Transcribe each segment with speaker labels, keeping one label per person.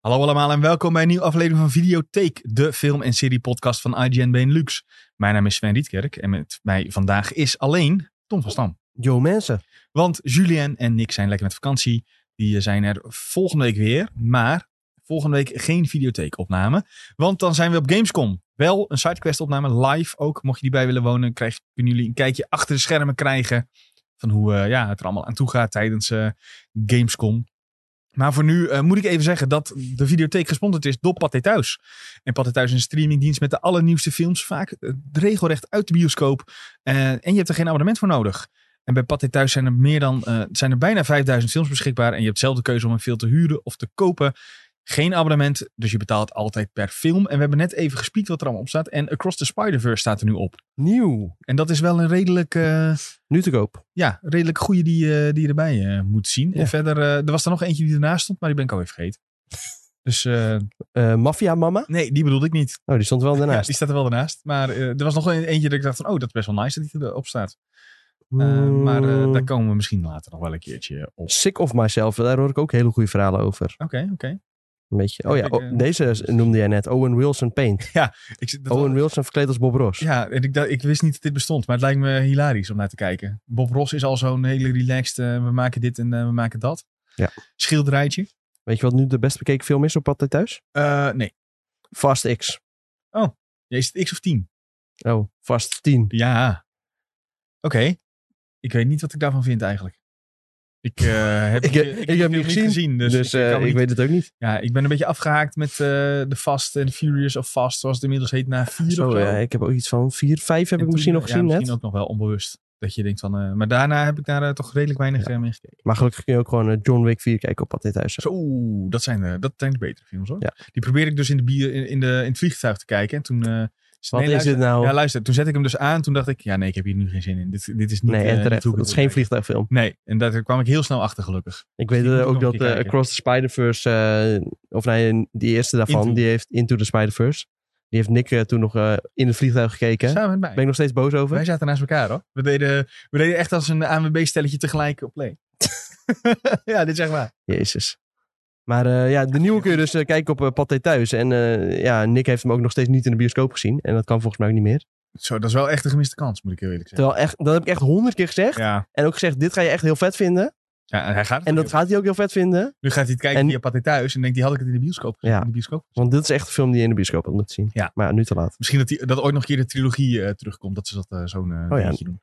Speaker 1: Hallo allemaal en welkom bij een nieuwe aflevering van Videotheek, de film- en serie-podcast van IGN Benelux. Mijn naam is Sven Rietkerk en met mij vandaag is alleen Tom van Stam.
Speaker 2: Yo mensen.
Speaker 1: Want Julien en Nick zijn lekker met vakantie. Die eh, zijn er volgende week weer, maar volgende week geen videotheekopname. Want dan zijn we op Gamescom. Wel een sidequest-opname, live ook. Mocht je die bij willen wonen, krijg, kunnen jullie een kijkje achter de schermen krijgen. Van hoe eh, ja, het er allemaal aan toe gaat tijdens eh, Gamescom. Maar voor nu eh, moet ik even zeggen dat de videotheek gesponsord is door Pathé Thuis. En Pathé Thuis is een streamingdienst met de allernieuwste films. Vaak eh, regelrecht uit de bioscoop. Eh, en je hebt er geen abonnement voor nodig. En bij Pathé Thuis zijn er, meer dan, eh, zijn er bijna 5000 films beschikbaar. En je hebt zelf de keuze om een film te huren of te kopen. Geen abonnement, dus je betaalt altijd per film. En we hebben net even gespiekt wat er allemaal op staat. En Across the Spider-Verse staat er nu op.
Speaker 2: Nieuw.
Speaker 1: En dat is wel een redelijk... eh,
Speaker 2: Nu te koop.
Speaker 1: ja, redelijk goede die, eh, die je erbij eh, moet zien.
Speaker 2: Ja.
Speaker 1: En verder, eh, er was er nog eentje die ernaast stond, maar die ben ik alweer vergeten. Dus eh,
Speaker 2: Eh Mafia Mama.
Speaker 1: nee, die bedoelde ik niet.
Speaker 2: Oh, die stond wel
Speaker 1: Ja,
Speaker 2: daarnaast.
Speaker 1: die staat er wel daarnaast. Maar eh, er was nog een, eentje dat ik dacht van, oh, dat is best wel nice dat die erop staat. Eh, maar eh, daar komen we misschien later nog wel een keertje op.
Speaker 2: Sick of Myself. Daar hoor ik ook hele goede verhalen over.
Speaker 1: Oké, oké.
Speaker 2: Een beetje. Oh ja,
Speaker 1: Heb ik,
Speaker 2: oh,
Speaker 1: eh,
Speaker 2: deze noemde jij net. Owen Wilson Paint.
Speaker 1: Ik zit- dat-
Speaker 2: Owen Wilson verkleed als Bob Ross.
Speaker 1: Ja, en ik, dacht- ik wist niet dat dit bestond, maar het lijkt me hilarisch om naar te kijken. Bob Ross is al zo'n hele relaxed, eh, we maken dit en eh, we maken dat.
Speaker 2: Ja.
Speaker 1: Schilderijtje?
Speaker 2: Weet je wat nu de best bekeken film is op Pathé Thuis?
Speaker 1: Eh, nee.
Speaker 2: Fast X.
Speaker 1: Ja, Is het X of 10?
Speaker 2: Oh, Fast 10.
Speaker 1: Ja. Oké. Ik weet niet wat ik daarvan vind eigenlijk. Ik eh, heb
Speaker 2: Ik-
Speaker 1: die-
Speaker 2: ik
Speaker 1: die
Speaker 2: heb hem
Speaker 1: film
Speaker 2: niet gezien,
Speaker 1: dus,
Speaker 2: Dus,
Speaker 1: ik,
Speaker 2: eh,
Speaker 1: kan
Speaker 2: ik
Speaker 1: niet-
Speaker 2: weet het ook niet.
Speaker 1: ja, ik ben een beetje afgehaakt met eh, de Fast en Furious of Fast, zoals het inmiddels heet, na vier
Speaker 2: Zo,
Speaker 1: of zo. eh,
Speaker 2: ja, ik heb ook iets van 4, 5 heb ik misschien nog gezien
Speaker 1: ja,
Speaker 2: net.
Speaker 1: Misschien ook nog wel onbewust. Dat je denkt van, eh, maar daarna heb ik daar eh, toch redelijk weinig eh, mee gekeken.
Speaker 2: Maar gelukkig kun je ook gewoon eh, John Wick 4 kijken op Pathé Thuis.
Speaker 1: Zo, dat zijn de, dat zijn de betere films hoor.
Speaker 2: Ja.
Speaker 1: Die probeerde ik dus in, de bier, in, in de, in het vliegtuig te kijken. En toen. eh, zei-
Speaker 2: Wat
Speaker 1: nee,
Speaker 2: is
Speaker 1: luister,
Speaker 2: dit nou?
Speaker 1: Ja, luister. Toen zette ik hem dus aan. Toen dacht ik, ja, nee, ik heb hier nu geen zin in. Dit, dit is niet.
Speaker 2: nee,
Speaker 1: eh,
Speaker 2: en
Speaker 1: niet
Speaker 2: terecht.
Speaker 1: hoe ik
Speaker 2: Dat is
Speaker 1: het
Speaker 2: geen
Speaker 1: wil kijken.
Speaker 2: vliegtuigfilm.
Speaker 1: Nee, en daar kwam ik heel snel achter, gelukkig.
Speaker 2: Ik weet
Speaker 1: Die
Speaker 2: eh,
Speaker 1: moet ik
Speaker 2: ook
Speaker 1: nog een
Speaker 2: dat
Speaker 1: keer
Speaker 2: eh,
Speaker 1: kijken.
Speaker 2: Across the Spider-Verse, eh, of nee, die eerste daarvan,
Speaker 1: Into.
Speaker 2: die heeft Into the Spider-Verse. Die heeft Nick eh, toen nog eh, in het vliegtuig gekeken. Daar
Speaker 1: Samen met mij.
Speaker 2: ben ik nog steeds boos over.
Speaker 1: Wij zaten naast elkaar hoor. We deden, we deden echt als een ANWB-stelletje tegelijk op play. ja, dit is echt waar.
Speaker 2: Jezus. Maar eh, ja, de nieuwe kun je dus eh, kijken op eh, Pathé Thuis. En eh, ja, Nick heeft hem ook nog steeds niet in de bioscoop gezien. En dat kan volgens mij ook niet meer.
Speaker 1: Zo, dat is wel echt een gemiste kans, moet ik heel eerlijk zeggen.
Speaker 2: Terwijl echt, dat heb ik echt honderd keer gezegd.
Speaker 1: Ja,
Speaker 2: En ook gezegd, dit ga je echt heel vet vinden.
Speaker 1: ja en hij gaat het
Speaker 2: En dat
Speaker 1: ook.
Speaker 2: gaat hij ook heel vet vinden.
Speaker 1: Nu gaat hij het kijken
Speaker 2: en-
Speaker 1: via Pathé thuis en denkt, die had ik het in de bioscoop gezien.
Speaker 2: Ja.
Speaker 1: In de bioscoop.
Speaker 2: Want dit is echt een film die je in de bioscoop had moeten zien.
Speaker 1: Ja.
Speaker 2: Maar ja, nu te laat.
Speaker 1: Misschien dat, die, dat ooit nog een keer de trilogie eh, terugkomt. Dat ze dat eh, zo'n eh
Speaker 2: Oh ja.
Speaker 1: dingetje doen.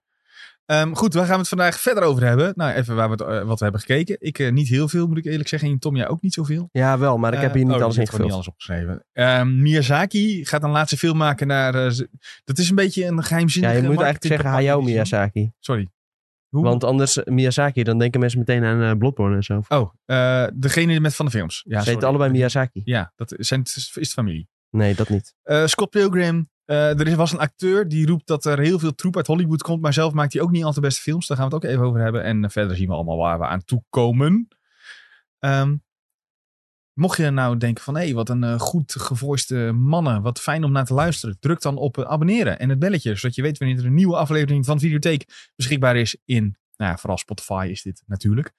Speaker 1: Ehm, goed, waar gaan we het vandaag verder over hebben? Nou, even waar we het, eh, wat we hebben gekeken. Ik eh, niet heel veel, moet ik eerlijk zeggen. En Tom, jij ook niet zoveel.
Speaker 2: Ja, wel. Maar ik heb
Speaker 1: Eh,
Speaker 2: hier niet
Speaker 1: oh, er
Speaker 2: alles
Speaker 1: zit
Speaker 2: in
Speaker 1: gewoon
Speaker 2: gevuld.
Speaker 1: niet alles opgeschreven. Ehm, Miyazaki gaat een laatste film maken naar... eh, z- dat is een beetje een
Speaker 2: Ja,
Speaker 1: geheimzinnige...
Speaker 2: je moet eigenlijk
Speaker 1: marketingcampagne
Speaker 2: zeggen Hayao
Speaker 1: die ze doen.
Speaker 2: Miyazaki.
Speaker 1: Sorry. Hoe?
Speaker 2: Want anders eh, Miyazaki, dan denken mensen meteen aan eh, Bloodborne en zo.
Speaker 1: Oh, eh, degene met van de films. Ja,
Speaker 2: Ze
Speaker 1: sorry.
Speaker 2: heten allebei Miyazaki.
Speaker 1: Ja, dat zijn, is de familie.
Speaker 2: Nee, dat niet.
Speaker 1: Eh, Scott Pilgrim. eh, er is, was een acteur die roept dat er heel veel troep uit Hollywood komt. Maar zelf maakt hij ook niet al te beste films. Daar gaan we het ook even over hebben. En eh, verder zien we allemaal waar we aan toe komen. Ehm, mocht je nou denken van... Hé, wat een eh, goed gevoiste mannen. Wat fijn om naar te luisteren. Druk dan op eh, abonneren en het belletje. Zodat je weet wanneer er een nieuwe aflevering van Videotheek beschikbaar is in... Nou ja, vooral Spotify is dit natuurlijk.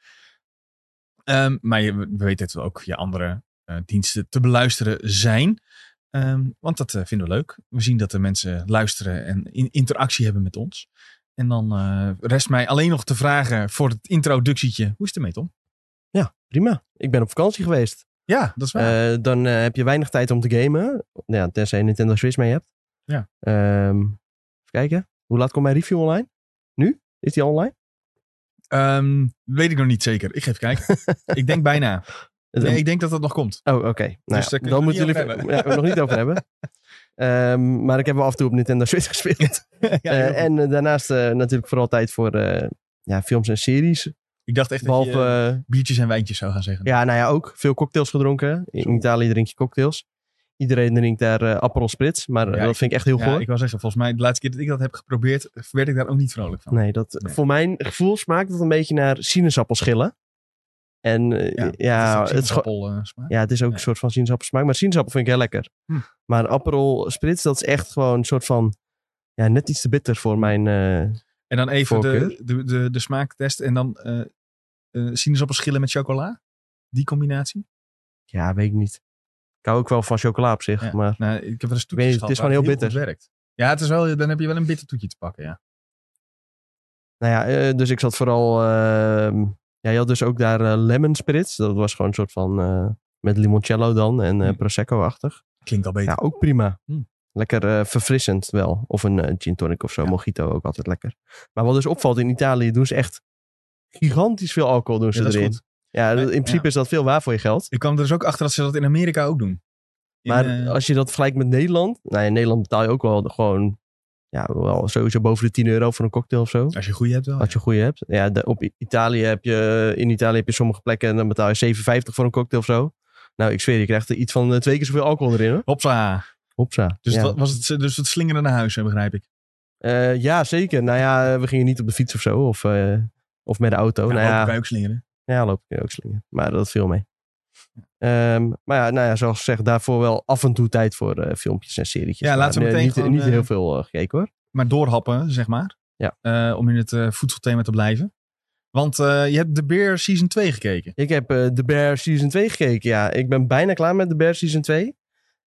Speaker 1: Ehm, maar je, we weten dat we ook via andere eh, diensten te beluisteren zijn. Ehm, want dat eh, vinden we leuk. We zien dat de mensen luisteren en in- interactie hebben met ons. En dan eh, rest mij alleen nog te vragen voor het introductietje. Hoe is het ermee, Tom?
Speaker 2: Prima. Ik ben op vakantie geweest.
Speaker 1: Ja, dat is waar.
Speaker 2: Eh, dan eh, heb je weinig tijd om te gamen. Ja, tenzij je Nintendo Switch mee hebt.
Speaker 1: Ja.
Speaker 2: Ehm, even kijken. Hoe laat komt mijn review online? Nu? Is die al online? Eh.
Speaker 1: Ehm, weet ik nog niet zeker. Ik ga even kijken. ik denk bijna. Nee, ik denk dat dat nog komt.
Speaker 2: Oh, oké. Nou
Speaker 1: Dus
Speaker 2: ja,
Speaker 1: daar kunnen
Speaker 2: dan
Speaker 1: we het
Speaker 2: moeten
Speaker 1: niet
Speaker 2: jullie
Speaker 1: over
Speaker 2: ja, we het nog niet over hebben. Ehm, maar ik heb wel af en toe op Nintendo Switch gespeeld.
Speaker 1: Ja, heel
Speaker 2: Eh,
Speaker 1: goed.
Speaker 2: en eh, daarnaast eh, natuurlijk vooral tijd voor eh, ja, films en series.
Speaker 1: ik dacht echt dat
Speaker 2: Behalve
Speaker 1: je eh, biertjes en wijntjes zou gaan zeggen.
Speaker 2: Ja, nou ja, ook veel cocktails gedronken. In
Speaker 1: Zo.
Speaker 2: Italië drink je cocktails. Iedereen drinkt daar eh Aperol Spritz, maar eh,
Speaker 1: Ja,
Speaker 2: dat
Speaker 1: ik-
Speaker 2: vind ik echt heel
Speaker 1: Ja,
Speaker 2: goor.
Speaker 1: ik wou zeggen, volgens mij de laatste keer dat ik dat heb geprobeerd, werd ik daar ook niet vrolijk van.
Speaker 2: Nee, dat,
Speaker 1: Nee.
Speaker 2: voor mijn gevoel smaakt het een beetje naar sinaasappelschillen. En eh,
Speaker 1: Ja,
Speaker 2: ja,
Speaker 1: dat is
Speaker 2: het is gewoon-
Speaker 1: appel eh, smaak.
Speaker 2: ja, het is ook
Speaker 1: Ja.
Speaker 2: een soort van sinaasappelsmaak, maar sinaasappel vind ik heel lekker.
Speaker 1: Hm.
Speaker 2: Maar Aperol Spritz, dat is echt gewoon een soort van, ja, net iets te bitter
Speaker 1: Hm.
Speaker 2: voor mijn... eh,
Speaker 1: En dan even de,
Speaker 2: Voorkeur.
Speaker 1: de, de, de smaaktest en dan eh eh sinaasappelschillen met chocola. Die combinatie.
Speaker 2: ja, weet ik niet. Ik hou ook wel van chocola op zich.
Speaker 1: Ja.
Speaker 2: Maar
Speaker 1: Nou, ik heb er een toetje
Speaker 2: weet niet,
Speaker 1: gehad.
Speaker 2: het is
Speaker 1: waar
Speaker 2: gewoon heel
Speaker 1: goed werkt. Ja, het is wel, dan heb je wel een bitter toetje te pakken, ja.
Speaker 2: nou ja, eh, dus ik zat vooral... ehm, ja, je had dus ook daar eh, lemon spritz. Dat was gewoon een soort van... eh, met limoncello dan en eh,
Speaker 1: Hm.
Speaker 2: prosecco-achtig.
Speaker 1: Klinkt al beter.
Speaker 2: Ja, ook prima.
Speaker 1: Hm.
Speaker 2: Lekker eh, verfrissend wel. Of een eh, gin tonic of zo.
Speaker 1: Ja.
Speaker 2: Mojito ook altijd lekker. Maar wat dus opvalt in Italië, doen ze echt gigantisch veel alcohol doen
Speaker 1: Ja,
Speaker 2: ze
Speaker 1: dat is
Speaker 2: erin.
Speaker 1: goed.
Speaker 2: Ja,
Speaker 1: Ja,
Speaker 2: in principe
Speaker 1: ja.
Speaker 2: is dat veel waar voor je geld.
Speaker 1: Ik kwam er dus ook achter dat ze dat in Amerika ook doen. In,
Speaker 2: Maar
Speaker 1: eh,
Speaker 2: als je dat vergelijkt met Nederland. Nou, in Nederland betaal je ook wel gewoon. Ja, wel sowieso boven de 10 euro voor een cocktail of zo.
Speaker 1: als je goede hebt wel.
Speaker 2: Als je goede hebt. Ja, de- op I- Italië heb je, in Italië heb je sommige plekken en dan betaal je 7,50 voor een cocktail of zo. Nou, ik zweer, je krijgt er iets van eh, twee keer zoveel alcohol erin hoor.
Speaker 1: Hopsa.
Speaker 2: Hopsa.
Speaker 1: Dus,
Speaker 2: ja.
Speaker 1: het wa- was het, dus het slingeren naar huis, hè, begrijp ik.
Speaker 2: Eh, ja, zeker. Nou ja, we gingen niet op de fiets of zo. Of, eh, of met de auto.
Speaker 1: ja,
Speaker 2: nou ja,
Speaker 1: ook- kan je ook slingeren.
Speaker 2: Ja, loop ik ook slingen. Maar dat viel mee. Ehm, maar ja, nou ja, zoals gezegd, daarvoor wel af en toe tijd voor eh, filmpjes en serietjes.
Speaker 1: Ja,
Speaker 2: Maar
Speaker 1: laten we
Speaker 2: nee,
Speaker 1: meteen
Speaker 2: niet,
Speaker 1: gewoon,
Speaker 2: niet
Speaker 1: eh,
Speaker 2: heel veel eh, gekeken hoor.
Speaker 1: Maar doorhappen, zeg maar.
Speaker 2: Ja.
Speaker 1: Eh, om in het eh, voedselthema te blijven. Want eh, je hebt The Bear Season 2 gekeken.
Speaker 2: Ik heb eh The Bear Season 2 gekeken. Ja, ik ben bijna klaar met The Bear Season 2.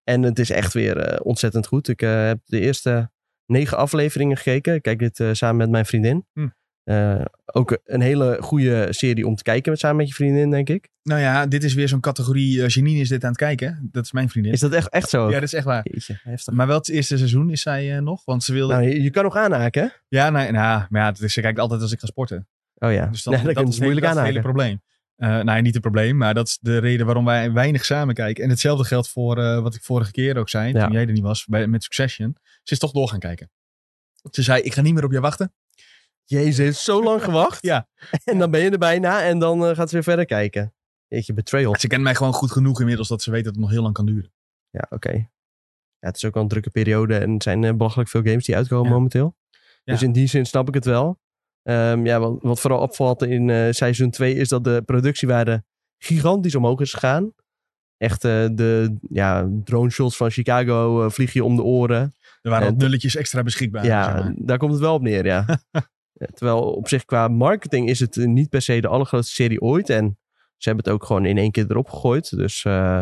Speaker 2: En het is echt weer eh, ontzettend goed. Ik eh, heb de eerste negen afleveringen gekeken. Ik kijk dit eh, samen met mijn vriendin.
Speaker 1: Hm.
Speaker 2: Eh, ook een hele goede serie om te kijken met, samen met je vriendin, denk ik.
Speaker 1: Nou ja, dit is weer zo'n categorie. eh, Janine is dit aan het kijken. Dat is mijn vriendin.
Speaker 2: Is dat echt, echt zo?
Speaker 1: ja, dat is echt waar.
Speaker 2: Jeetje, heftig.
Speaker 1: Maar wel het eerste seizoen is zij eh, nog. Want ze wilde.
Speaker 2: Nou, je, je kan nog aanhaken. hè?
Speaker 1: ja, nee, nou, maar ja, het is- ze kijkt altijd als ik ga sporten.
Speaker 2: Oh ja,
Speaker 1: Dus dan,
Speaker 2: Ja, dat,
Speaker 1: dat,
Speaker 2: kan
Speaker 1: is
Speaker 2: je
Speaker 1: moeilijk
Speaker 2: moeilijk
Speaker 1: aan het
Speaker 2: aanhaken.
Speaker 1: hele probleem. Eh nou, niet het probleem, maar dat is de reden waarom wij weinig samen kijken. En hetzelfde geldt voor eh, wat ik vorige keer ook zei,
Speaker 2: Ja.
Speaker 1: toen jij er niet was, bij, met Succession. Ze is toch door gaan kijken. Ze zei, ik ga niet meer op je wachten.
Speaker 2: Jezus, heeft zo lang gewacht.
Speaker 1: Ja.
Speaker 2: En dan ben je er bijna en dan eh, gaat ze weer verder kijken. Jeetje, betrayal.
Speaker 1: Ze kent mij gewoon goed genoeg inmiddels dat ze weet dat het nog heel lang kan duren.
Speaker 2: Ja, oké. Ja, het is ook wel een drukke periode en er zijn eh, belachelijk veel games die uitkomen
Speaker 1: Ja.
Speaker 2: momenteel.
Speaker 1: Ja.
Speaker 2: Dus in die zin snap ik het wel. Ehm, ja, wat, wat vooral opvalt in eh, seizoen 2 is dat de productiewaarde gigantisch omhoog is gegaan. Echt eh, de ja, drone shots van Chicago eh, vlieg je om de oren.
Speaker 1: Er waren
Speaker 2: Eh,
Speaker 1: al nulletjes extra beschikbaar.
Speaker 2: Ja,
Speaker 1: zeg maar.
Speaker 2: daar komt het wel op neer, ja. Ja, Terwijl op zich qua marketing is het eh, niet per se de allergrootste serie ooit. En ze hebben het ook gewoon in één keer erop gegooid. Dus eh,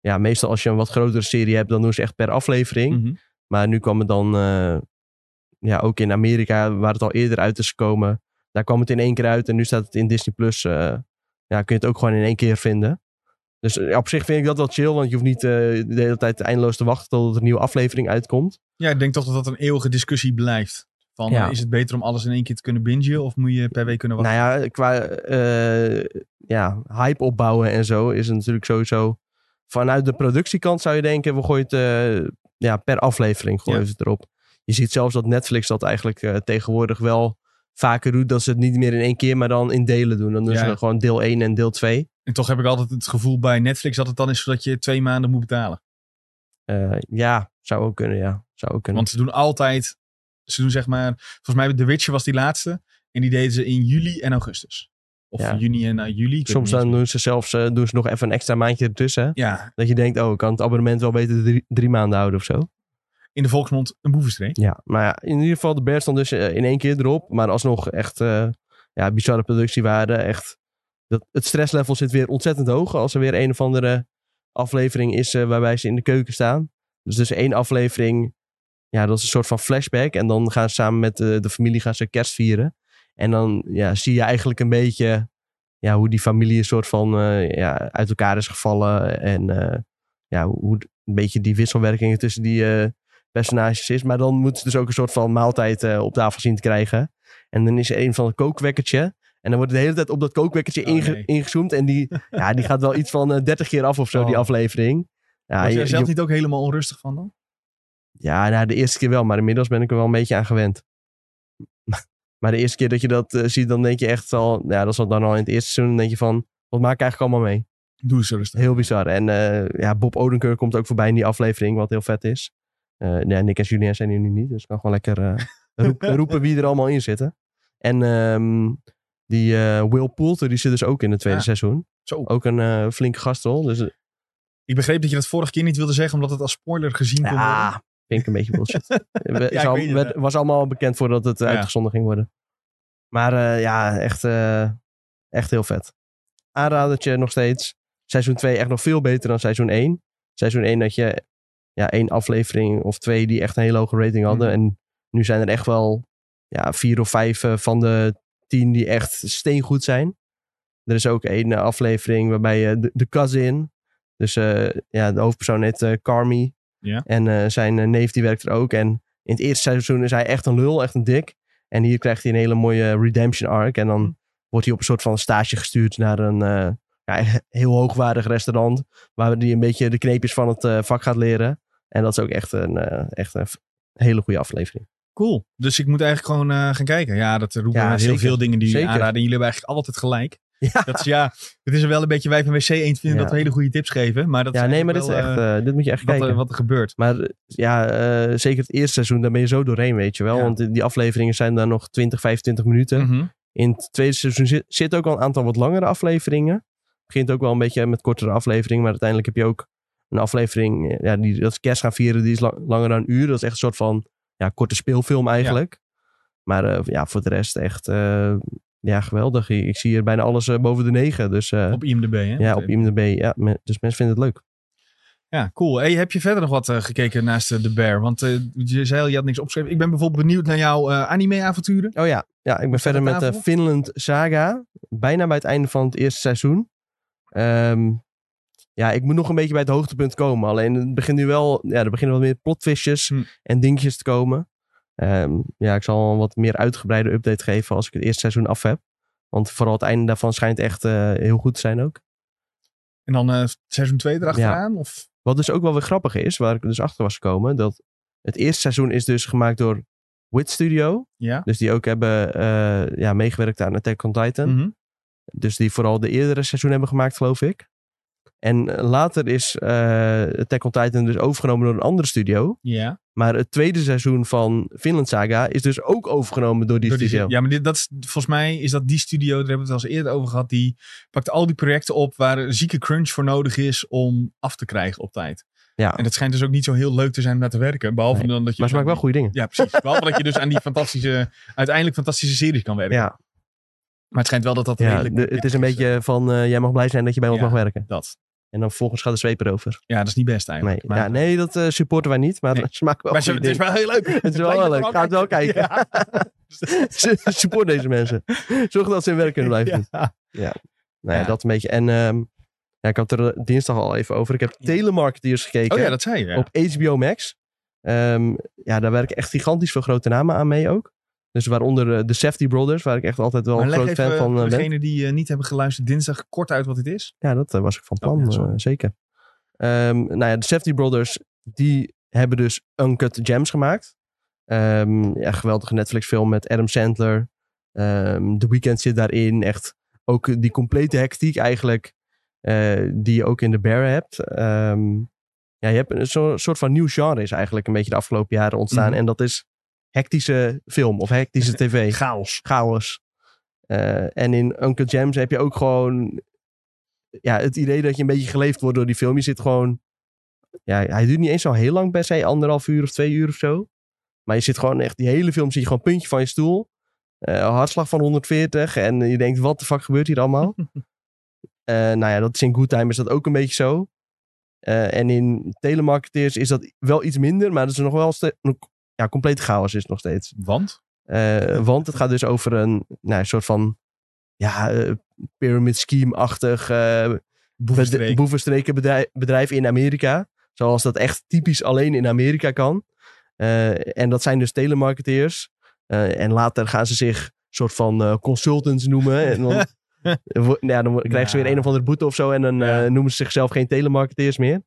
Speaker 2: ja, meestal als je een wat grotere serie hebt, dan doen ze echt per aflevering.
Speaker 1: Mhm.
Speaker 2: Maar nu kwam het dan, eh, ja, ook in Amerika, waar het al eerder uit is gekomen. Daar kwam het in één keer uit en nu staat het in Disney+. Plus. Eh, ja, kun je het ook gewoon in één keer vinden. Dus eh, op zich vind ik dat wel chill, want je hoeft niet eh, de hele tijd eindeloos te wachten tot er een nieuwe aflevering uitkomt.
Speaker 1: Ja, ik denk toch dat dat een eeuwige discussie blijft. Van,
Speaker 2: Ja.
Speaker 1: eh, is het beter om alles in één keer te kunnen bingen of moet je per week kunnen wachten?
Speaker 2: Nou ja, qua eh, ja, hype opbouwen en zo is het natuurlijk sowieso... Vanuit de productiekant zou je denken, we gooien het eh, ja, per aflevering gooien
Speaker 1: Ja.
Speaker 2: we het erop. Je ziet zelfs dat Netflix dat eigenlijk eh, tegenwoordig wel vaker doet. Dat ze het niet meer in één keer, maar dan in delen doen. Dan doen
Speaker 1: Ja.
Speaker 2: ze gewoon deel 1 en deel 2.
Speaker 1: En toch heb ik altijd het gevoel bij Netflix dat het dan is zodat je twee maanden moet betalen.
Speaker 2: Eh, ja, zou ook kunnen, ja. Zou ook kunnen.
Speaker 1: Want ze doen altijd, ze doen zeg maar, volgens mij The Witcher was die laatste. En die deden ze in juli en augustus. Of
Speaker 2: Ja.
Speaker 1: juni en eh, juli. ik weet
Speaker 2: Soms
Speaker 1: het niet
Speaker 2: dan doen ze zelfs eh, doen ze nog even een extra maandje ertussen. hè.
Speaker 1: eens. Ja,
Speaker 2: Dat je denkt, oh, ik kan het abonnement wel beter drie, drie maanden houden of zo.
Speaker 1: in de volksmond een boevenstreek.
Speaker 2: Ja, maar ja, in ieder geval, de Bear stond dus eh, in één keer erop. Maar alsnog echt eh, ja, bizarre productiewaarde. Echt, dat, het stresslevel zit weer ontzettend hoog als er weer een of andere aflevering is eh, waarbij ze in de keuken staan. Dus dus één aflevering, ja, dat is een soort van flashback. En dan gaan ze samen met eh, de familie gaan ze kerst vieren. En dan ja, zie je eigenlijk een beetje ja, hoe die familie een soort van eh, ja, uit elkaar is gevallen. En eh, ja, hoe een beetje die wisselwerkingen tussen die... eh, personages is. Maar dan moeten ze dus ook een soort van maaltijd eh, op tafel zien te krijgen. En dan is er een van een kookwekkertje. En dan wordt de hele tijd op dat kookwekkertje
Speaker 1: Oh,
Speaker 2: inge-
Speaker 1: nee.
Speaker 2: ingezoomd. En die, ja, die gaat wel iets van eh, 30 keer af of zo, die
Speaker 1: Oh.
Speaker 2: aflevering. Ja,
Speaker 1: was
Speaker 2: je-
Speaker 1: jij
Speaker 2: je-
Speaker 1: zelf niet ook helemaal onrustig van dan?
Speaker 2: ja nou, de eerste keer wel, maar inmiddels ben ik er wel een beetje aan gewend. maar de eerste keer dat je dat eh, ziet, dan denk je echt al... Ja, dat was dan al in het eerste seizoen. Dan denk je van, wat maak ik eigenlijk allemaal mee?
Speaker 1: Doe eens rustig.
Speaker 2: Heel bizar. En eh, ja, Bob Odenkirk komt ook voorbij in die aflevering, wat heel vet is. Eh ja, Nick en Julien zijn hier nu niet, dus ik kan gewoon lekker eh, roep- roepen wie er allemaal in zitten. En ehm, die eh, Will Poulter, die zit dus ook in het tweede
Speaker 1: Ja.
Speaker 2: seizoen.
Speaker 1: Zo.
Speaker 2: Ook een eh, flinke gastrol. Dus eh,
Speaker 1: Ik begreep dat je dat vorige keer niet wilde zeggen, omdat het als spoiler gezien kon
Speaker 2: ja,
Speaker 1: worden.
Speaker 2: vind ik een beetje bullshit. Eh, We-
Speaker 1: ik
Speaker 2: zou-
Speaker 1: weet het,
Speaker 2: werd- was allemaal al bekend voordat het eh,
Speaker 1: Ja.
Speaker 2: uitgezonden ging worden. Maar eh, ja, echt, eh, echt heel vet. Aanradertje nog steeds. Seizoen 2 echt nog veel beter dan seizoen 1. seizoen 1 dat je ja, één aflevering of twee die echt een hele hoge rating hadden. En nu zijn er echt wel ja, vier of vijf eh, van de tien die echt steengoed zijn. Er is ook één eh, aflevering waarbij eh, de, de cousin, dus eh, ja, de hoofdpersoon heet eh Carmi.
Speaker 1: Ja.
Speaker 2: En eh, zijn eh, neef die werkt er ook. En in het eerste seizoen is hij echt een lul, echt een dik. En hier krijgt hij een hele mooie redemption arc. En dan wordt hij op een soort van stage gestuurd naar een eh, ja, he- heel hoogwaardig restaurant. Waar hij een beetje de kneepjes van het eh, vak gaat leren. En dat is ook echt een, eh, echt een f- hele goede aflevering.
Speaker 1: Cool. Dus ik moet eigenlijk gewoon eh, gaan kijken. Ja, dat roepen
Speaker 2: Ja,
Speaker 1: we met heel
Speaker 2: zeker.
Speaker 1: veel dingen die jullie
Speaker 2: Zeker.
Speaker 1: aanraden. En jullie hebben eigenlijk altijd gelijk.
Speaker 2: Ja,
Speaker 1: Dat is, ja, het is wel een beetje wij van WC eens vinden
Speaker 2: Ja.
Speaker 1: dat we hele goede tips geven. Maar dat
Speaker 2: ja
Speaker 1: is
Speaker 2: nee, maar dit, is
Speaker 1: eigenlijk
Speaker 2: echt,
Speaker 1: wel,
Speaker 2: eh, dit moet je echt
Speaker 1: eh, wat,
Speaker 2: kijken.
Speaker 1: er- wat er gebeurt.
Speaker 2: Maar eh, ja, eh, zeker het eerste seizoen, daar ben je zo doorheen, weet je wel.
Speaker 1: Ja.
Speaker 2: Want die die afleveringen zijn dan nog 20, 25 minuten.
Speaker 1: Mhm.
Speaker 2: In het tweede seizoen zit, zit ook al een aantal wat langere afleveringen. Het begint ook wel een beetje met kortere afleveringen. Maar uiteindelijk heb je ook een aflevering. eh, Ja, die, dat is kerst gaan vieren. Die is la- langer dan een uur. Dat is echt een soort van ja, korte speelfilm eigenlijk. Maar eh, ja, voor de rest echt eh, ja, geweldig. Ik, ik zie hier bijna alles eh, boven de negen. Dus eh,
Speaker 1: Op IMDb, hè?
Speaker 2: ja, op IMDb. Ja, me- dus mensen vinden het leuk.
Speaker 1: Ja, cool. Hey, heb je verder nog wat eh, gekeken naast eh, The Bear? Want eh, je zei al, je had niks opgeschreven. Ik ben bijvoorbeeld benieuwd naar jouw eh, anime-avonturen.
Speaker 2: Oh ja, ja ik ben verder
Speaker 1: aan
Speaker 2: met de
Speaker 1: tafel?
Speaker 2: Finland Saga. Bijna bij het einde van het eerste seizoen. Ehm, ja, ik moet nog een beetje bij het hoogtepunt komen. Alleen het begint nu wel, ja, er beginnen wat meer plotvisjes
Speaker 1: Hm.
Speaker 2: en dingetjes te komen. Ehm, ja, ik zal een wat meer uitgebreide update geven als ik het eerste seizoen af heb. Want vooral het einde daarvan schijnt echt eh, heel goed te zijn ook.
Speaker 1: En dan eh seizoen 2 erachteraan? Of...
Speaker 2: Wat dus ook wel weer grappig is, waar ik dus achter was gekomen, dat het eerste seizoen is dus gemaakt door Wit Studio.
Speaker 1: Ja.
Speaker 2: Dus die ook hebben eh, ja, meegewerkt aan Attack on Titan.
Speaker 1: Mhm.
Speaker 2: Dus die vooral de eerdere seizoen hebben gemaakt, geloof ik. En eh, later is eh Attack on Titan dus overgenomen door een andere studio.
Speaker 1: Ja.
Speaker 2: Maar het tweede seizoen van Finland Saga is dus ook overgenomen door die
Speaker 1: Door die-
Speaker 2: studio.
Speaker 1: Ja, maar dit, dat is, volgens mij is dat die studio, daar hebben we het wel eens eerder over gehad, die pakt al die projecten op waar een zieke crunch voor nodig is om af te krijgen op tijd.
Speaker 2: Ja.
Speaker 1: En dat schijnt dus ook niet zo heel leuk te zijn om naar te werken. Behalve
Speaker 2: Nee,
Speaker 1: dan dat je... dus
Speaker 2: Maar ze maken wel goede dingen.
Speaker 1: Ja, precies. Behalve dat je dus aan die fantastische, uiteindelijk fantastische series kan werken.
Speaker 2: Ja,
Speaker 1: Maar het schijnt wel dat dat
Speaker 2: ja,
Speaker 1: redelijk... dus,
Speaker 2: de- het is een beetje van eh, jij mag blij zijn dat je bij ons
Speaker 1: Ja.
Speaker 2: mag werken.
Speaker 1: Dat.
Speaker 2: En dan vervolgens gaat de zweep erover.
Speaker 1: Ja, dat is niet best
Speaker 2: Nee,
Speaker 1: eigenlijk. Maar-
Speaker 2: ja, nee dat eh, supporten wij niet, maar
Speaker 1: Nee.
Speaker 2: ze maken wel
Speaker 1: Maar ze-
Speaker 2: goede
Speaker 1: het is
Speaker 2: dingen.
Speaker 1: wel heel leuk.
Speaker 2: Het is wel
Speaker 1: lijkt me
Speaker 2: leuk. Ga het wel kijken.
Speaker 1: Ja.
Speaker 2: Support deze mensen. Zorg dat ze hun werk kunnen blijven doen.
Speaker 1: Ja.
Speaker 2: Nou ja,
Speaker 1: Ja.
Speaker 2: dat een beetje. En ehm, ja, ik had het er eh, dinsdag al even over. Ik heb
Speaker 1: Ja.
Speaker 2: telemarketeers gekeken
Speaker 1: Oh ja, dat zei je. ja.
Speaker 2: eh, op HBO Max. Ehm, ja, daar werken echt gigantisch veel grote namen aan mee ook. Dus waaronder eh, de Safety Brothers, waar ik echt altijd wel
Speaker 1: Maar
Speaker 2: een
Speaker 1: leg
Speaker 2: groot
Speaker 1: even
Speaker 2: fan van
Speaker 1: voor
Speaker 2: eh, ben.
Speaker 1: degenen die eh, niet hebben geluisterd dinsdag kort uit wat het is.
Speaker 2: Ja, dat eh, was ik van
Speaker 1: Oh,
Speaker 2: plan,
Speaker 1: ja, sorry.
Speaker 2: eh, zeker. Ehm, nou ja, de Safety Brothers, die hebben dus Uncut Gems gemaakt. Ehm ja, geweldige Netflix film met Adam Sandler. Ehm The Weeknd zit daarin. Echt ook die complete hectiek eigenlijk, eh, die je ook in The Bear hebt. Ehm, ja, je hebt een zo- soort van nieuw genre is eigenlijk een beetje de afgelopen jaren ontstaan.
Speaker 1: Mhm.
Speaker 2: En dat is hectische film of hectische tv
Speaker 1: Chaos.
Speaker 2: chaos. Eh, en in Uncle James heb je ook gewoon ja, het idee dat je een beetje geleefd wordt door die film. Je zit gewoon. Ja, hij duurt niet eens zo heel lang per se, anderhalf uur of twee uur of zo. Maar je zit gewoon echt, die hele film zie je gewoon puntje van je stoel. Eh, hartslag van 140 en je denkt, wat de fuck gebeurt hier allemaal? Eh, nou ja, dat is in Good Time is dat ook een beetje zo. Eh, en in telemarketeers is dat wel iets minder, maar dat is nog wel ste- ja, compleet chaos is het nog steeds.
Speaker 1: Want?
Speaker 2: Eh, want het gaat dus over een nou, een soort van ja, eh, pyramid scheme-achtig eh,
Speaker 1: Boevenstreek.
Speaker 2: bed- boevenstrekenbedrijf bedrijf in Amerika. Zoals dat echt typisch alleen in Amerika kan. Eh, en dat zijn dus telemarketeers. Eh, en later gaan ze zich soort van eh, consultants noemen. En dan, wo- ja, dan wo- krijgen ze
Speaker 1: Ja.
Speaker 2: weer een of andere boete of zo. En dan
Speaker 1: Ja.
Speaker 2: eh, noemen ze zichzelf geen telemarketeers meer.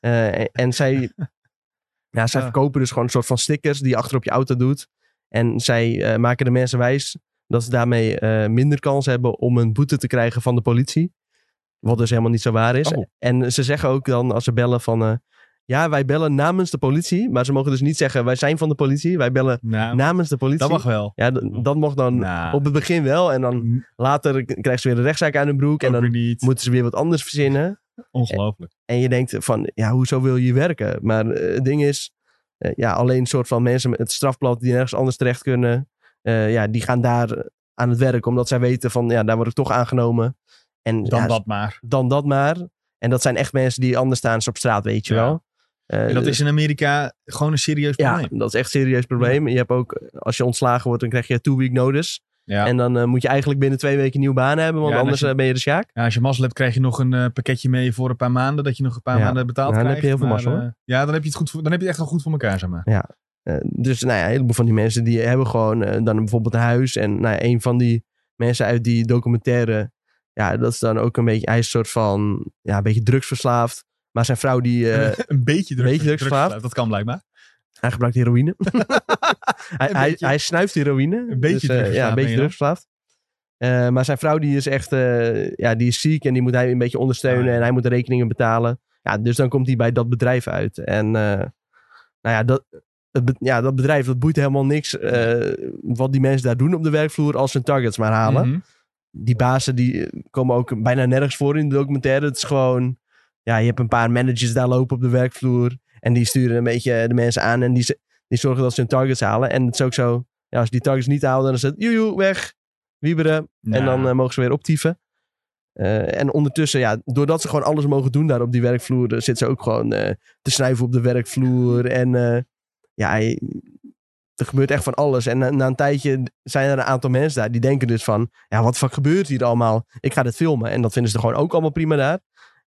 Speaker 2: Eh, en, en zij, ja, zij
Speaker 1: Ja.
Speaker 2: verkopen dus gewoon een soort van stickers die je achter op je auto doet. En zij eh, maken de mensen wijs dat ze daarmee eh, minder kans hebben om een boete te krijgen van de politie. Wat dus helemaal niet zo waar is.
Speaker 1: Oh.
Speaker 2: En ze zeggen ook dan als ze bellen van... eh, ja, wij bellen namens de politie. Maar ze mogen dus niet zeggen wij zijn van de politie. Wij bellen
Speaker 1: Nou,
Speaker 2: namens de politie.
Speaker 1: dat mag wel.
Speaker 2: Ja, d- dat mocht dan
Speaker 1: Nou,
Speaker 2: op het begin wel. En dan
Speaker 1: ook
Speaker 2: later k- krijgen ze weer een rechtszaak aan hun broek. En
Speaker 1: weer
Speaker 2: dan
Speaker 1: niet.
Speaker 2: moeten ze weer wat anders verzinnen.
Speaker 1: Ongelooflijk.
Speaker 2: En je denkt van, ja, hoezo wil je werken? Maar eh, het ding is, eh, ja, alleen een soort van mensen met het strafblad die nergens anders terecht kunnen, eh, ja, die gaan daar aan het werk, omdat zij weten van, ja, dus- daar word ik toch aangenomen. En
Speaker 1: Dan
Speaker 2: ja,
Speaker 1: dat maar.
Speaker 2: dan dat maar. En dat zijn echt mensen die anders staan ze op straat, weet je
Speaker 1: Ja.
Speaker 2: wel. Eh,
Speaker 1: En dat is in Amerika gewoon een serieus
Speaker 2: ja,
Speaker 1: probleem.
Speaker 2: dat is echt een serieus probleem. Je hebt ook, als je ontslagen wordt, dan krijg je two-week notice.
Speaker 1: Ja.
Speaker 2: En dan eh, moet je eigenlijk binnen twee weken een nieuwe baan hebben, want
Speaker 1: Ja, en
Speaker 2: anders
Speaker 1: als je-
Speaker 2: eh, ben je de sjaak.
Speaker 1: Ja, als je mazzel hebt, krijg je nog een eh, pakketje mee voor een paar maanden. Dat je nog een paar
Speaker 2: Ja.
Speaker 1: maanden betaald
Speaker 2: Ja, dan heb
Speaker 1: krijgt.
Speaker 2: je heel veel mazzel,
Speaker 1: eh, ja, dan heb je het goed voor, dan heb je het echt wel goed voor elkaar, zeg maar.
Speaker 2: Eh, dus nou ja, een heleboel van die mensen die hebben gewoon eh, dan bijvoorbeeld een huis. En nou ja, een van die mensen uit die documentaire, ja, dat is dan ook een beetje, hij is een soort van, ja, een beetje drugsverslaafd. Maar zijn vrouw die, eh,
Speaker 1: een beetje druk.
Speaker 2: beetje druk verslaafd.
Speaker 1: Dat kan blijkbaar.
Speaker 2: hij gebruikt heroïne. hij,
Speaker 1: Een
Speaker 2: hij,
Speaker 1: beetje.
Speaker 2: hij snuift heroïne.
Speaker 1: Een beetje
Speaker 2: eh,
Speaker 1: drugsverslaafd
Speaker 2: Ja,
Speaker 1: ben je
Speaker 2: een beetje
Speaker 1: dan.
Speaker 2: drugsverslaafd. Eh, maar zijn vrouw die is echt, eh, ja, die is ziek en die moet hij een beetje ondersteunen.
Speaker 1: Ah, ja.
Speaker 2: En hij moet de rekeningen betalen. Ja, dus dan komt hij bij dat bedrijf uit. En eh, nou ja, dat, het be- ja, dat bedrijf, dat boeit helemaal niks eh, wat die mensen daar doen op de werkvloer als ze hun targets maar halen.
Speaker 1: Mhm.
Speaker 2: Die bazen die eh, komen ook bijna nergens voor in de documentaire. Het is gewoon, ja, je hebt een paar managers daar lopen op de werkvloer. En die sturen een beetje de mensen aan en die, z- die zorgen dat ze hun targets halen. En het is ook zo, ja, als die targets niet halen, dan is het joejoe, weg, wieberen. En
Speaker 1: Ja.
Speaker 2: dan eh, mogen ze weer optieven. Eh, en ondertussen, ja, doordat ze gewoon alles mogen doen daar op die werkvloer, eh, zitten ze ook gewoon eh, te snuiven op de werkvloer. En eh, ja, je- er gebeurt echt van alles. En na, na een tijdje zijn er een aantal mensen daar die denken dus van, ja, wat fuck gebeurt hier allemaal? Ik ga dit filmen. En dat vinden ze gewoon ook allemaal prima daar.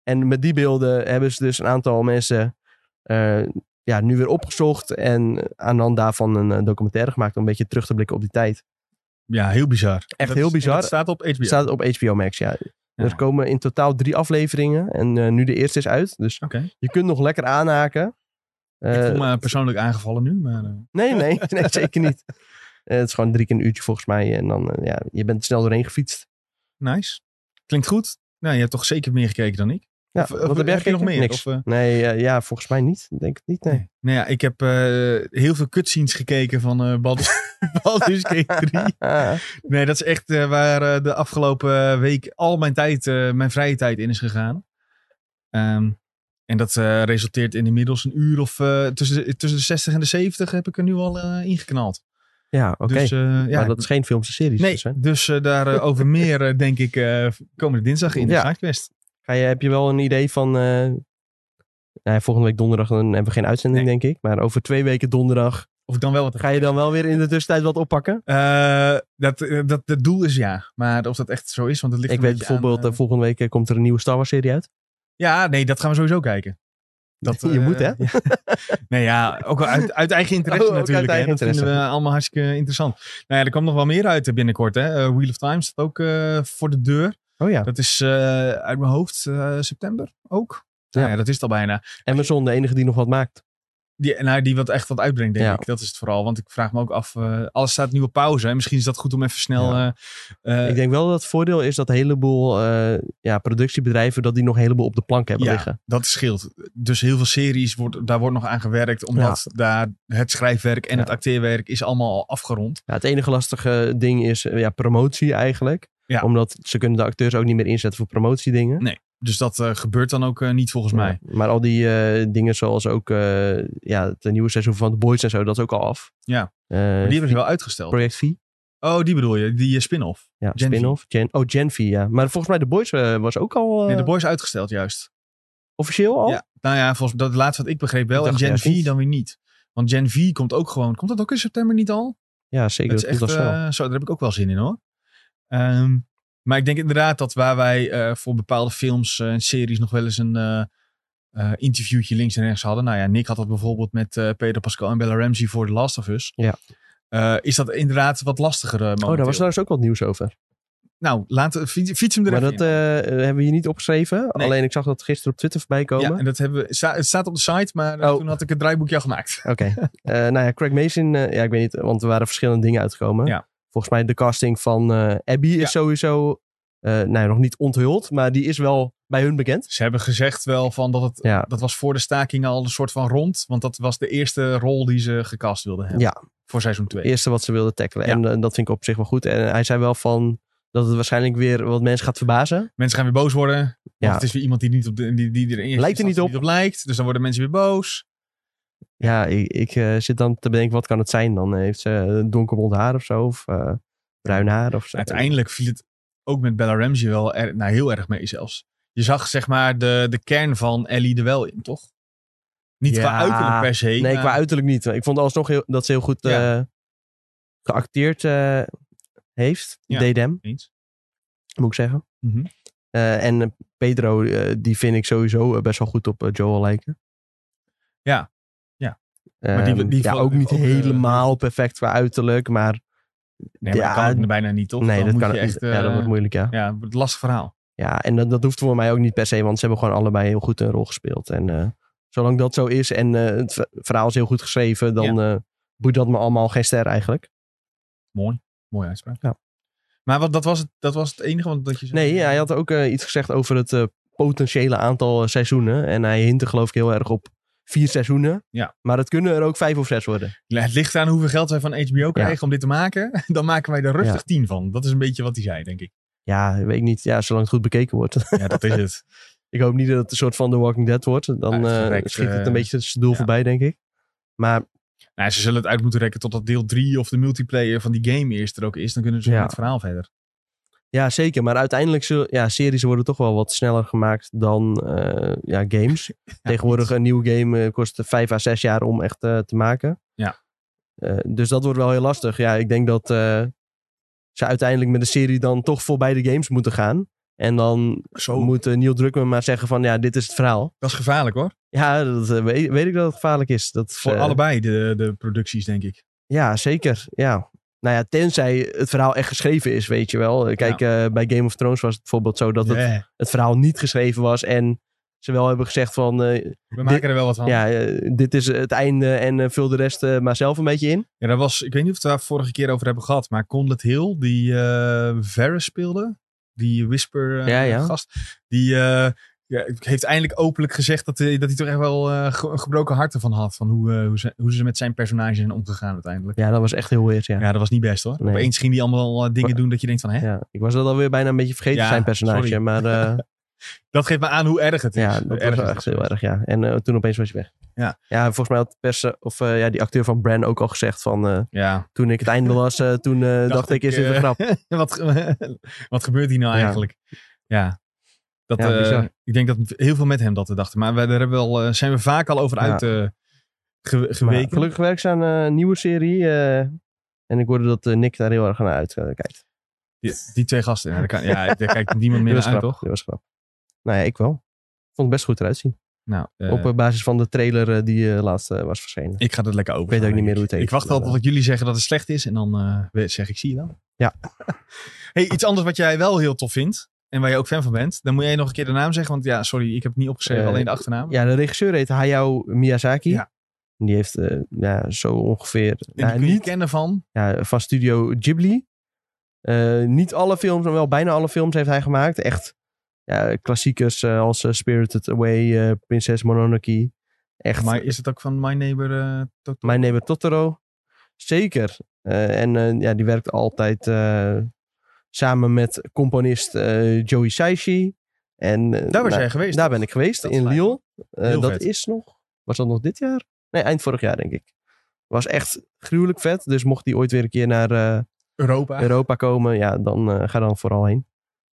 Speaker 2: En met die beelden hebben ze dus een aantal mensen eh, ja, nu weer opgezocht. En aan de hand daarvan een eh, documentaire gemaakt om een beetje terug te blikken op die tijd.
Speaker 1: Ja, heel bizar.
Speaker 2: Echt
Speaker 1: Dat-
Speaker 2: heel bizar.
Speaker 1: en Dat staat op HBO.
Speaker 2: Staat op HBO Max, ja. Er komen in totaal drie afleveringen. En eh, nu de eerste is uit. Dus
Speaker 1: Oké.
Speaker 2: je kunt nog lekker aanhaken.
Speaker 1: ik
Speaker 2: Eh,
Speaker 1: voel me persoonlijk aangevallen nu, maar... eh,
Speaker 2: nee, nee, nee, zeker niet. Eh, het is gewoon drie keer een uurtje volgens mij. En dan, eh, ja, je bent er snel doorheen gefietst.
Speaker 1: Nice. Klinkt goed. Nou, je hebt toch zeker meer gekeken dan ik?
Speaker 2: Ja,
Speaker 1: Of- of
Speaker 2: wat heb jij
Speaker 1: heb je nog
Speaker 2: gekeken?
Speaker 1: meer?
Speaker 2: Niks.
Speaker 1: Of, eh,
Speaker 2: Nee, eh, ja, volgens mij niet. Ik Denk het niet, nee.
Speaker 1: Nou ja, ik heb eh, heel veel cutscenes gekeken van eh Baldur's, Baldur's Gate 3.
Speaker 2: Ah,
Speaker 1: Nee, dat is echt eh, waar eh, de afgelopen week al mijn tijd, eh, mijn vrije tijd in is gegaan. Ehm, en dat eh, resulteert in inmiddels een uur of eh, tussen, de, tussen de 60 en de 70 heb ik er nu al eh, ingeknald.
Speaker 2: ja, oké.
Speaker 1: Dus eh, ja,
Speaker 2: maar dat is geen films en series.
Speaker 1: nee,
Speaker 2: dus, hè.
Speaker 1: dus eh, daarover meer eh, denk ik eh, komende dinsdag in de
Speaker 2: Ja.
Speaker 1: Sidequest.
Speaker 2: Ga je, heb je wel een idee van... eh, nou, volgende week donderdag dan hebben we geen uitzending, denk ik. Maar over twee weken donderdag
Speaker 1: Of ik dan wel wat
Speaker 2: ga je dan wel weer in de tussentijd wat oppakken.
Speaker 1: Eh, dat, eh, dat, het doel is ja. Maar of dat echt zo is, want het ligt
Speaker 2: Ik
Speaker 1: een
Speaker 2: weet
Speaker 1: beetje aan,
Speaker 2: bijvoorbeeld,
Speaker 1: eh,
Speaker 2: eh, volgende week eh, komt er een nieuwe Star Wars serie uit.
Speaker 1: ja, nee, dat gaan we sowieso kijken. Dat,
Speaker 2: Je
Speaker 1: eh,
Speaker 2: moet, hè?
Speaker 1: ja. nee, ja, ook wel uit, uit eigen interesse
Speaker 2: Oh, ook uit
Speaker 1: natuurlijk. hè.
Speaker 2: eigen
Speaker 1: dat vinden
Speaker 2: interesse.
Speaker 1: we allemaal hartstikke interessant. Nou ja, er komt nog wel meer uit eh, binnenkort. Hè. Eh, Wheel of Time staat ook eh, voor de deur.
Speaker 2: Oh ja.
Speaker 1: Dat is eh, uit mijn hoofd eh, september ook. Ja.
Speaker 2: Ja.
Speaker 1: Nou ja, dat is het al bijna.
Speaker 2: Amazon, de enige die nog wat maakt.
Speaker 1: Die, nou, die wat echt wat uitbrengt, denk
Speaker 2: Ja.
Speaker 1: ik. Dat is het vooral. Want ik vraag me ook af, eh, alles staat nu op pauze. En misschien is dat goed om even snel... eh, eh,
Speaker 2: ik denk wel dat het voordeel is dat een heleboel eh, ja, productiebedrijven dat die nog een heleboel op de plank hebben
Speaker 1: Ja.
Speaker 2: liggen.
Speaker 1: Dat scheelt. Dus heel veel series, wordt, daar wordt nog aan gewerkt. Omdat daar het schrijfwerk en
Speaker 2: Ja.
Speaker 1: het acteerwerk is allemaal al afgerond.
Speaker 2: Ja, het enige lastige ding is eh, ja, promotie eigenlijk.
Speaker 1: Ja.
Speaker 2: Omdat ze kunnen de acteurs ook niet meer inzetten voor promotiedingen.
Speaker 1: Dus dat eh, gebeurt dan ook eh, niet volgens mij.
Speaker 2: Ja. Maar al die eh, dingen zoals ook eh, ja, het nieuwe seizoen van The Boys en zo, dat is ook al af.
Speaker 1: Ja.
Speaker 2: Eh,
Speaker 1: Maar die hebben ze wel uitgesteld.
Speaker 2: Project V.
Speaker 1: Oh, die bedoel je. Die eh, spin-off.
Speaker 2: Ja,
Speaker 1: Gen V.
Speaker 2: spin-off. Gen- oh, Gen V, ja. Maar volgens mij The Boys eh, was ook al eh,
Speaker 1: Nee, de boys uitgesteld juist.
Speaker 2: officieel al.
Speaker 1: Ja. Nou ja, volgens dat laatste wat ik begreep wel.
Speaker 2: Ik
Speaker 1: En
Speaker 2: dacht
Speaker 1: Gen
Speaker 2: juist
Speaker 1: V
Speaker 2: niet.
Speaker 1: dan weer niet. Want Gen V komt ook gewoon... Komt dat ook in september niet al?
Speaker 2: Ja, zeker.
Speaker 1: Dat
Speaker 2: Dat,
Speaker 1: is
Speaker 2: komt
Speaker 1: echt,
Speaker 2: al snel.
Speaker 1: eh, zo, daar heb ik ook wel zin in hoor. Ehm, maar ik denk inderdaad dat waar wij eh, voor bepaalde films eh, en series nog wel eens een eh, eh, interviewtje links en rechts hadden. Nou ja, Nick had dat bijvoorbeeld met eh Peter Pascal en Bella Ramsey voor The Last of Us.
Speaker 2: Ja.
Speaker 1: Eh, is dat inderdaad wat lastiger eh,
Speaker 2: oh, daar
Speaker 1: momenteel.
Speaker 2: was trouwens ook wat nieuws over.
Speaker 1: Nou, laten, fiets, fiets hem er
Speaker 2: Maar
Speaker 1: even
Speaker 2: dat
Speaker 1: in.
Speaker 2: eh, hebben we hier niet opgeschreven. Alleen ik zag dat gisteren op Twitter voorbij eh, komen.
Speaker 1: Ja, en dat hebben we, sta- het staat op de site, maar eh,
Speaker 2: Oh.
Speaker 1: toen had ik het draaiboekje al gemaakt.
Speaker 2: Oké. Eh, nou ja, Craig Mason, eh, ja, ik weet niet, want er waren verschillende dingen uitgekomen.
Speaker 1: Ja.
Speaker 2: Volgens mij de casting van eh, Abby
Speaker 1: Ja.
Speaker 2: is sowieso, eh, nou ja, nog niet onthuld, maar die is wel bij hun bekend.
Speaker 1: Ze hebben gezegd wel van dat het,
Speaker 2: Ja.
Speaker 1: dat was voor de staking al een soort van rond. Want dat was de eerste rol die ze gecast wilden hebben
Speaker 2: Ja,
Speaker 1: voor seizoen 2.
Speaker 2: het eerste wat ze wilden tackelen.
Speaker 1: Ja.
Speaker 2: En eh, dat vind ik op zich wel goed. En hij zei wel van dat het waarschijnlijk weer wat mensen gaat verbazen.
Speaker 1: Mensen gaan weer boos worden. Want
Speaker 2: Ja.
Speaker 1: het is weer iemand die, niet op de, die, die er in eerste
Speaker 2: Lijkt er niet
Speaker 1: instantie
Speaker 2: op.
Speaker 1: lijkt. Dus dan worden mensen weer boos.
Speaker 2: Ja, ik, ik eh, zit dan te bedenken, wat kan het zijn dan? Heeft ze eh, donkerblond haar of zo? Of eh, bruin haar of zo?
Speaker 1: Uiteindelijk viel het ook met Bella Ramsey wel er, nou, heel erg mee zelfs. je zag zeg maar de, de kern van Ellie er wel in, toch? Niet
Speaker 2: Ja.
Speaker 1: qua uiterlijk per se.
Speaker 2: Nee,
Speaker 1: maar-
Speaker 2: qua uiterlijk niet. Ik vond alsnog heel, dat ze heel goed
Speaker 1: eh, Ja.
Speaker 2: eh, geacteerd eh, heeft.
Speaker 1: Ja.
Speaker 2: Deed hem,
Speaker 1: Eens.
Speaker 2: moet ik zeggen.
Speaker 1: Mhm.
Speaker 2: Eh, en eh, Pedro, eh, die vind ik sowieso eh, best wel goed op eh, Joel lijken.
Speaker 1: Ja. Ja.
Speaker 2: Ehm,
Speaker 1: Maar die- die
Speaker 2: ja,
Speaker 1: vond
Speaker 2: ook
Speaker 1: ik
Speaker 2: niet
Speaker 1: ook, eh,
Speaker 2: helemaal perfect qua uiterlijk, maar
Speaker 1: Nee, maar
Speaker 2: Ja,
Speaker 1: dat kan bijna niet, toch?
Speaker 2: nee,
Speaker 1: Dan
Speaker 2: dat
Speaker 1: moet
Speaker 2: kan
Speaker 1: je
Speaker 2: ook
Speaker 1: echt.
Speaker 2: niet. Ja, dat
Speaker 1: eh,
Speaker 2: wordt moeilijk, ja.
Speaker 1: ja, het wordt een lastig verhaal.
Speaker 2: Ja, en dat, dat hoeft voor mij ook niet per se, want ze hebben gewoon allebei heel goed een rol gespeeld. En eh, zolang dat zo is en eh, het ver- verhaal is heel goed geschreven, dan eh boeit dat me allemaal geen ster eigenlijk.
Speaker 1: Mooie uitspraak.
Speaker 2: Ja.
Speaker 1: Maar wat, dat, was het, dat was het enige want dat je zei?
Speaker 2: Nee, hij had ook eh, iets gezegd over het eh, potentiële aantal eh, seizoenen. En hij hintte geloof ik heel erg op vier seizoenen.
Speaker 1: Ja.
Speaker 2: Maar het kunnen er ook vijf of zes worden.
Speaker 1: Het ligt aan hoeveel geld wij van HBO krijgen om dit te maken. Dan maken wij er rustig
Speaker 2: Ja.
Speaker 1: tien van. Dat is een beetje wat hij zei, denk ik.
Speaker 2: Ja, weet ik niet. Ja, zolang het goed bekeken wordt.
Speaker 1: Ja, dat is het.
Speaker 2: ik hoop niet dat het een soort van The Walking Dead wordt. Dan
Speaker 1: Ja, het
Speaker 2: eh,
Speaker 1: gebrek,
Speaker 2: schiet het een
Speaker 1: eh,
Speaker 2: beetje zijn doel
Speaker 1: ja.
Speaker 2: voorbij, denk ik. Maar
Speaker 1: nou, ze zullen het uit moeten rekken totdat deel 3 of de multiplayer van die game eerst er ook is. Dan kunnen ze
Speaker 2: Ja.
Speaker 1: met het verhaal verder.
Speaker 2: Ja, zeker. Maar uiteindelijk zullen ja, series worden toch wel wat sneller gemaakt dan eh, ja, games. Tegenwoordig een nieuw game eh, kost vijf à zes jaar om echt eh, te maken.
Speaker 1: Ja.
Speaker 2: Eh, dus dat wordt wel heel lastig. Ja, ik denk dat eh, ze uiteindelijk met de serie dan toch voorbij de games moeten gaan. En dan
Speaker 1: Zo.
Speaker 2: moet eh, Neil Druckmann maar zeggen van ja, dit is het verhaal.
Speaker 1: Dat is gevaarlijk hoor.
Speaker 2: Ja, dat eh, weet, weet ik dat het gevaarlijk is. Dat,
Speaker 1: Voor
Speaker 2: eh,
Speaker 1: allebei de, de producties, denk ik.
Speaker 2: ja, zeker. Ja. Nou ja, tenzij het verhaal echt geschreven is, weet je wel. Kijk, eh, bij Game of Thrones was het bijvoorbeeld zo dat het
Speaker 1: Ja,
Speaker 2: het verhaal niet geschreven was. En ze wel hebben gezegd van, eh,
Speaker 1: We maken er wel wat van. Ja.
Speaker 2: ja, eh, dit is het einde en eh, vul de rest eh, maar zelf een beetje in.
Speaker 1: dat was, ik weet niet of we het daar vorige keer over hebben gehad. Maar Conlet Hill, die eh Varys speelde. Die Whisper eh,
Speaker 2: Ja, ja.
Speaker 1: gast. Die eh, ja, heeft eindelijk openlijk gezegd dat hij, dat hij toch echt wel eh, ge- een gebroken hart ervan had. Van hoe, eh, hoe, ze, hoe ze met zijn personage zijn omgegaan uiteindelijk.
Speaker 2: Ja, dat was echt heel weird, ja.
Speaker 1: Ja, dat was niet best hoor.
Speaker 2: Nee.
Speaker 1: Opeens ging die allemaal eh, dingen
Speaker 2: Maar-
Speaker 1: doen dat je denkt van hè,
Speaker 2: Ja, ik was dat alweer bijna een beetje vergeten,
Speaker 1: Ja,
Speaker 2: zijn personage.
Speaker 1: sorry.
Speaker 2: Maar eh,
Speaker 1: dat geeft me aan hoe erg het is.
Speaker 2: ja,
Speaker 1: Hoe
Speaker 2: dat
Speaker 1: erg is
Speaker 2: was wel
Speaker 1: het
Speaker 2: echt
Speaker 1: geweest.
Speaker 2: heel erg, ja. En eh, toen opeens was je weg.
Speaker 1: Ja.
Speaker 2: ja, volgens mij had pers, eh, of eh, ja, die acteur van Bran ook al gezegd van, eh,
Speaker 1: Ja,
Speaker 2: toen ik het einde las, eh, toen eh, dacht, ik, is dit
Speaker 1: eh,
Speaker 2: een grap?
Speaker 1: wat, ge- wat gebeurt hier nou
Speaker 2: Ja.
Speaker 1: eigenlijk? Ja. Dat,
Speaker 2: Ja,
Speaker 1: eh,
Speaker 2: bizar.
Speaker 1: ik denk dat heel veel met hem dat dachten. Maar wij, daar hebben we al, eh, zijn we vaak al over
Speaker 2: Ja.
Speaker 1: uit eh, ge-
Speaker 2: Maar
Speaker 1: geweken.
Speaker 2: gelukkig werkt ze aan eh, een nieuwe serie. eh, en ik hoorde dat eh, Nick daar heel erg naar uitkijkt.
Speaker 1: Die, die twee gasten. Ja, daar, kan, ja, daar kijkt niemand meer
Speaker 2: dat was
Speaker 1: naar uit,
Speaker 2: grap.
Speaker 1: toch?
Speaker 2: Dat was grap. Nou ja, ik wel. Ik vond het best goed eruit zien.
Speaker 1: Nou, eh,
Speaker 2: Op eh, basis van de trailer eh, die eh, laatst eh, was verschenen.
Speaker 1: ik ga dat lekker over.
Speaker 2: weet ook niet meer hoe het heet,
Speaker 1: Ik wacht
Speaker 2: maar,
Speaker 1: altijd tot jullie zeggen dat het slecht is. En dan eh, we- zeg ik, zie je wel.
Speaker 2: Ja.
Speaker 1: hey, iets anders wat jij wel heel tof vindt. En waar je ook fan van bent. Dan moet jij nog een keer de naam zeggen. Want ja, sorry, ik heb het niet opgeschreven.
Speaker 2: Eh,
Speaker 1: alleen de achternaam.
Speaker 2: Ja, de regisseur heet Hayao Miyazaki.
Speaker 1: Ja.
Speaker 2: En Die heeft eh, ja, zo ongeveer...
Speaker 1: En die
Speaker 2: nou,
Speaker 1: kun je
Speaker 2: niet,
Speaker 1: kennen van.
Speaker 2: ja, van studio Ghibli. Eh, niet alle films, maar wel bijna alle films heeft hij gemaakt. Echt ja, klassiekers eh, als eh, Spirited Away, eh Prinses Mononoke. Echt
Speaker 1: Maar is het ook van My Neighbor eh, Totoro?
Speaker 2: Mijn Neighbor Totoro. Zeker. Eh, en eh, ja, die werkt altijd eh, samen met componist eh, Joey Saishi. En, eh,
Speaker 1: Daar was
Speaker 2: nou,
Speaker 1: jij geweest.
Speaker 2: Daar
Speaker 1: toch?
Speaker 2: ben ik geweest,
Speaker 1: Dat is
Speaker 2: in
Speaker 1: fijn.
Speaker 2: Lille. Eh,
Speaker 1: Heel
Speaker 2: dat
Speaker 1: vet.
Speaker 2: is nog... Was dat nog dit jaar? Nee, eind vorig jaar denk ik. Was echt gruwelijk vet. Dus mocht die ooit weer een keer naar eh,
Speaker 1: Europa.
Speaker 2: Europa komen, ja, dan eh, ga dan vooral heen.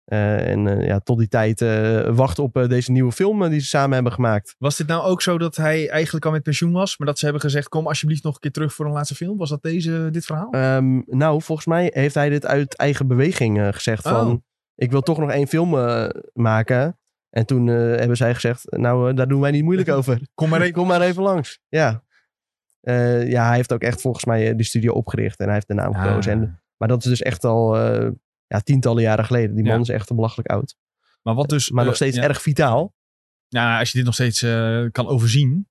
Speaker 2: Eh, en eh, ja, tot die tijd eh, wacht op eh, deze nieuwe film eh, die ze samen hebben gemaakt.
Speaker 1: Was dit nou ook zo dat hij eigenlijk al met pensioen was. Maar dat ze hebben gezegd, kom alsjeblieft nog een keer terug voor een laatste film. Was dat deze, dit verhaal?
Speaker 2: Ehm, nou, volgens mij heeft hij dit uit eigen beweging eh, gezegd.
Speaker 1: Oh.
Speaker 2: Van, ik wil toch nog één film eh, maken. En toen eh, hebben zij gezegd, nou, eh, daar doen wij niet moeilijk over.
Speaker 1: Kom maar even.
Speaker 2: Kom maar even langs. Ja. Eh, ja, hij heeft ook echt volgens mij eh, die studio opgericht. En hij heeft de naam
Speaker 1: Ah.
Speaker 2: gekozen. En, maar dat is dus echt al eh, ja, tientallen jaren geleden. Die man
Speaker 1: Ja.
Speaker 2: is echt belachelijk oud.
Speaker 1: maar wat dus...
Speaker 2: Maar nog
Speaker 1: eh,
Speaker 2: steeds
Speaker 1: ja.
Speaker 2: erg vitaal.
Speaker 1: Nou, als je dit nog steeds eh, kan overzien,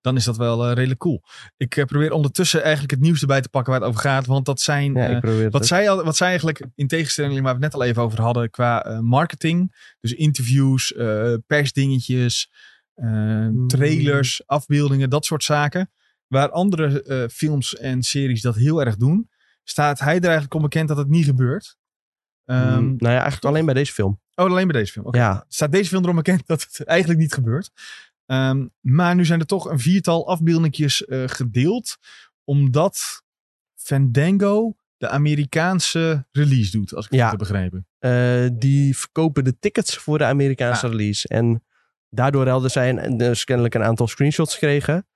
Speaker 1: dan is dat wel eh, redelijk cool. Ik eh, probeer ondertussen eigenlijk het nieuws erbij te pakken waar het over gaat. Want dat zijn.
Speaker 2: Ja,
Speaker 1: eh,
Speaker 2: ik probeer het
Speaker 1: wat,
Speaker 2: ook.
Speaker 1: zij al, wat zij eigenlijk, in tegenstelling waar we het net al even over hadden, qua eh, marketing. Dus interviews, eh, persdingetjes, eh, trailers, afbeeldingen, dat soort zaken. Waar andere eh, films en series dat heel erg doen, staat hij er eigenlijk onbekend dat het niet gebeurt. Ehm,
Speaker 2: Mm, nou ja, eigenlijk alleen bij deze film.
Speaker 1: Oh, alleen bij deze film. Oké
Speaker 2: Ja,
Speaker 1: staat deze film erom bekend dat het eigenlijk niet gebeurt. Ehm, maar nu zijn er toch een viertal afbeeldingjes eh, gedeeld. Omdat Fandango de Amerikaanse release doet, als ik het
Speaker 2: Ja.
Speaker 1: goed heb begrepen.
Speaker 2: eh, die verkopen de tickets voor de Amerikaanse
Speaker 1: Ja.
Speaker 2: release. En daardoor hadden zij een- dus kennelijk een aantal screenshots gekregen.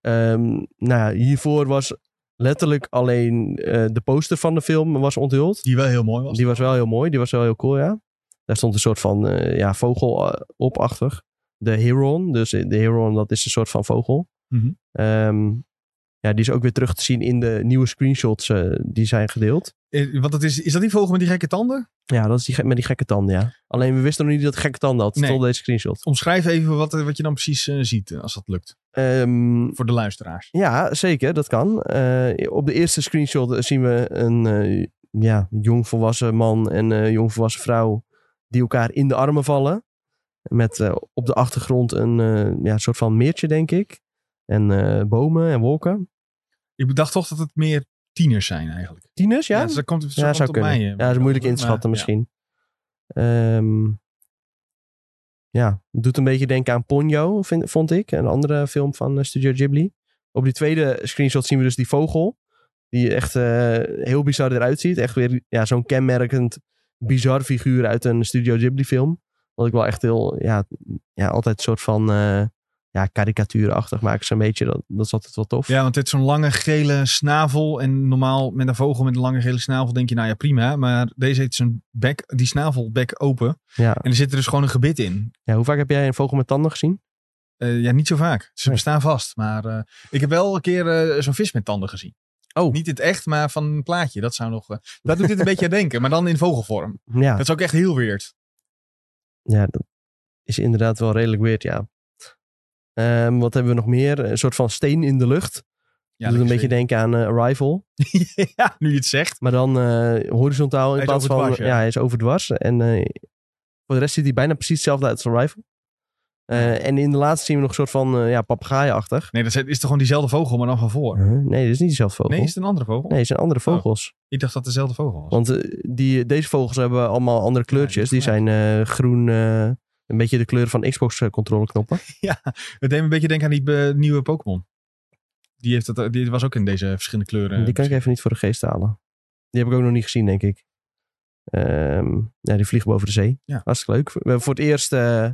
Speaker 2: Ehm, nou, ja, hiervoor was letterlijk alleen eh, de poster van de film was onthuld.
Speaker 1: Die wel heel mooi was.
Speaker 2: Die was wel heel mooi, die was wel heel cool, ja. Daar stond een soort van eh, ja, vogel eh, opachtig. De Heron, dus de Heron dat is een soort van vogel.
Speaker 1: Mhm.
Speaker 2: Ehm, ja, die is ook weer terug te zien in de nieuwe screenshots eh, die zijn gedeeld.
Speaker 1: Eh, Want dat is, is dat die vogel met die gekke tanden?
Speaker 2: Ja, dat is die, ge- met die gekke tanden, ja. Alleen we wisten nog niet dat het gekke tanden had,
Speaker 1: Nee.
Speaker 2: tot deze screenshot.
Speaker 1: Omschrijf even wat, eh, wat je dan precies eh, ziet, eh, als dat lukt.
Speaker 2: Ehm,
Speaker 1: Voor de luisteraars.
Speaker 2: ja, zeker, dat kan. Eh, op de eerste screenshot eh, zien we een eh ja, jongvolwassen man en eh jongvolwassen vrouw die elkaar in de armen vallen. Met eh, op de achtergrond een eh, ja, soort van meertje, denk ik. En eh, bomen en wolken.
Speaker 1: Ik dacht toch dat het meer tieners zijn eigenlijk.
Speaker 2: Tieners, ja?
Speaker 1: dus dat komt, zo
Speaker 2: Ja,
Speaker 1: komt
Speaker 2: zou
Speaker 1: op
Speaker 2: kunnen.
Speaker 1: mij. eh,
Speaker 2: ja, dat is moeilijk
Speaker 1: maar-
Speaker 2: inschatten
Speaker 1: ja.
Speaker 2: misschien. Ja. ja, het doet een beetje denken aan Ponyo, vind, vond ik. Een andere film van eh, Studio Ghibli. Op die tweede screenshot zien we dus die vogel. Die echt eh, heel bizar eruit ziet. Echt weer ja, zo'n kenmerkend bizar figuur uit een Studio Ghibli film. Wat ik wel echt heel, ja, ja altijd een soort van eh ja, karikatuurachtig maken ze een beetje. Dat, dat is altijd wel tof.
Speaker 1: Ja, want dit is zo'n lange gele snavel. En normaal met een vogel met een lange gele snavel denk je, nou ja, prima. Maar deze heeft zijn bek, die snavelbek open.
Speaker 2: Ja.
Speaker 1: En er zit er dus gewoon een gebit in.
Speaker 2: Ja, hoe vaak heb jij een vogel met tanden gezien?
Speaker 1: Eh, ja, niet zo vaak. Ze
Speaker 2: Nee.
Speaker 1: bestaan vast. Maar eh, ik heb wel een keer eh, zo'n vis met tanden gezien.
Speaker 2: Oh.
Speaker 1: Niet in het echt, maar van een plaatje. Dat zou nog. eh, dat doet dit een beetje aan denken, maar dan in vogelvorm.
Speaker 2: Ja.
Speaker 1: Dat is ook echt heel weird.
Speaker 2: Ja, dat is inderdaad wel redelijk weird, ja. Ehm, wat hebben we nog meer? Een soort van steen in de lucht.
Speaker 1: Ja,
Speaker 2: Doet een
Speaker 1: dat is-
Speaker 2: beetje denken aan eh, Arrival.
Speaker 1: ja, nu je het zegt.
Speaker 2: Maar dan eh, horizontaal in
Speaker 1: Hij is
Speaker 2: plaats van...
Speaker 1: overdwars,
Speaker 2: ja.
Speaker 1: ja.
Speaker 2: hij is overdwars. En eh, voor de rest ziet hij bijna precies hetzelfde uit als Arrival. Eh, en in de laatste zien we nog een soort van eh ja, papegaaienachtig.
Speaker 1: Nee, dat is, is toch gewoon diezelfde vogel, maar dan van voor.
Speaker 2: Huh? Nee, dat is niet dezelfde vogel.
Speaker 1: Nee,
Speaker 2: Nee,
Speaker 1: is het Oh. een andere vogel?
Speaker 2: het zijn andere vogels.
Speaker 1: Ik dacht dat het dezelfde vogel was.
Speaker 2: Want eh, die, deze vogels hebben allemaal andere kleurtjes.
Speaker 1: die
Speaker 2: die
Speaker 1: is
Speaker 2: zijn eh, groen, eh, een beetje de kleur van eh, Xbox-controleknoppen.
Speaker 1: Het deed me een beetje denken aan die eh, nieuwe Pokémon. Die, heeft dat, eh, die was ook in deze verschillende kleuren.
Speaker 2: die kan ik even niet voor de geest halen. Die heb ik ook nog niet gezien, denk ik. Ehm, ja, die vliegen boven de zee.
Speaker 1: Ja.
Speaker 2: Hartstikke leuk. We hebben voor het eerst, eh,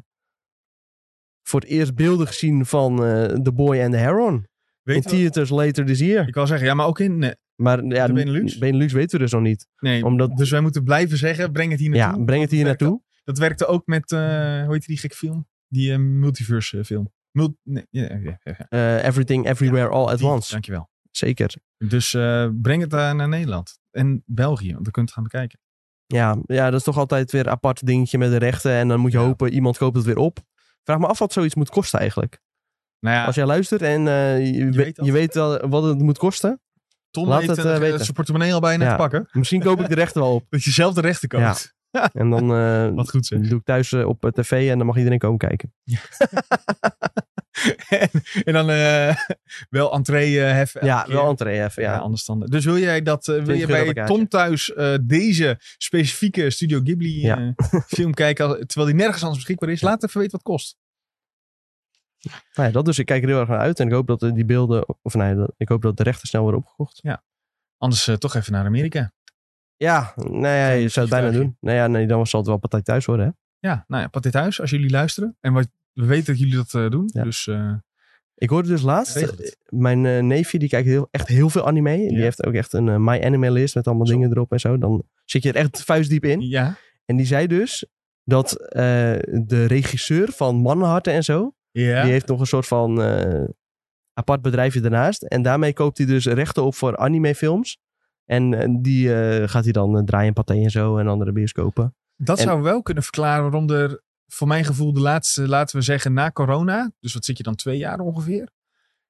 Speaker 2: voor het eerst beelden gezien van eh, The Boy and the Heron.
Speaker 1: Weet je
Speaker 2: in
Speaker 1: wat-
Speaker 2: theaters later this year.
Speaker 1: Ik wil zeggen, ja, maar ook in... eh,
Speaker 2: Maar ja,
Speaker 1: De Benelux?
Speaker 2: Benelux weten we dus nog niet.
Speaker 1: Nee,
Speaker 2: Omdat-
Speaker 1: dus wij moeten blijven zeggen, breng het hier naartoe.
Speaker 2: ja, breng het hier
Speaker 1: Want
Speaker 2: naartoe.
Speaker 1: Dat werkte ook met, eh, hoe heet die gekke film? Die eh, multiverse eh, film. Mul nee, ja, ja, ja, ja.
Speaker 2: Eh, everything, everywhere, all at
Speaker 1: Die,
Speaker 2: once.
Speaker 1: Dankjewel.
Speaker 2: Zeker.
Speaker 1: Dus eh, breng het eh, naar Nederland. En België, want dan kunt het gaan bekijken.
Speaker 2: Ja, ja, dat is toch altijd weer een apart dingetje met de rechten. En dan moet je
Speaker 1: Ja.
Speaker 2: hopen, iemand koopt het weer op. Vraag me af wat zoiets moet kosten eigenlijk.
Speaker 1: Nou ja,
Speaker 2: Als jij luistert en eh, je, we-
Speaker 1: weet dat.
Speaker 2: je weet wel wat het moet kosten.
Speaker 1: Tom
Speaker 2: laat
Speaker 1: heeft
Speaker 2: het,
Speaker 1: het,
Speaker 2: eh,
Speaker 1: eh,
Speaker 2: weten.
Speaker 1: zijn portemonnee al bijna
Speaker 2: Ja.
Speaker 1: te pakken.
Speaker 2: Misschien koop ik de rechten wel op.
Speaker 1: Dat je zelf de rechten koopt.
Speaker 2: En dan eh,
Speaker 1: Wat goed zeg.
Speaker 2: doe ik thuis eh, op eh, tv en dan mag iedereen komen kijken.
Speaker 1: en, en dan eh, wel entree eh, heffen.
Speaker 2: ja,
Speaker 1: elke keer.
Speaker 2: wel entree even.
Speaker 1: Ja,
Speaker 2: Ja.
Speaker 1: anders dan. Dus wil jij dat eh, wil
Speaker 2: 20
Speaker 1: je
Speaker 2: euro
Speaker 1: bij
Speaker 2: per kaartje.
Speaker 1: Tom thuis eh, deze specifieke Studio Ghibli
Speaker 2: Ja.
Speaker 1: eh, film kijken, als- terwijl die nergens anders beschikbaar is? Laat even weten wat het kost.
Speaker 2: Nou ja, dat dus. Ik kijk er heel erg naar uit en ik hoop dat eh, die beelden, of nee, dat- ik hoop dat de rechten snel worden opgekocht.
Speaker 1: Anders eh, toch even naar Amerika.
Speaker 2: Ja, nou ja, je zou het bijna
Speaker 1: vliegtuigje.
Speaker 2: doen. Nou ja, nee, dan zal het wel partij thuis worden. Hè?
Speaker 1: Ja, nou ja, pat dit huis als jullie luisteren. En wat, we weten dat jullie dat eh, doen.
Speaker 2: Ja.
Speaker 1: Dus eh,
Speaker 2: Ik hoorde dus laatst,
Speaker 1: regel het.
Speaker 2: eh, mijn eh, neefje die kijkt heel, echt heel veel anime. Die
Speaker 1: Ja.
Speaker 2: heeft ook echt een eh, My Anime List met allemaal
Speaker 1: Zo.
Speaker 2: dingen erop en zo. Dan zit je er echt vuistdiep in.
Speaker 1: ja.
Speaker 2: En die zei dus dat eh, de regisseur van Mannenharten en zo,
Speaker 1: Ja.
Speaker 2: Die heeft nog een soort van eh, apart bedrijfje daarnaast. En daarmee koopt hij dus rechten op voor animefilms. En eh, die eh, gaat hij dan eh, draaien in Pathé en zo en andere bioscopen.
Speaker 1: Dat
Speaker 2: en-
Speaker 1: zou wel kunnen verklaren waarom er, voor mijn gevoel, de laatste, laten we zeggen, na corona, dus wat zit je dan, twee jaar ongeveer,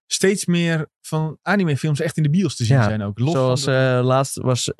Speaker 1: steeds meer van animefilms echt in de bios te zien
Speaker 2: Ja,
Speaker 1: zijn ook. Los van
Speaker 2: Zoals
Speaker 1: de-
Speaker 2: eh, laatst was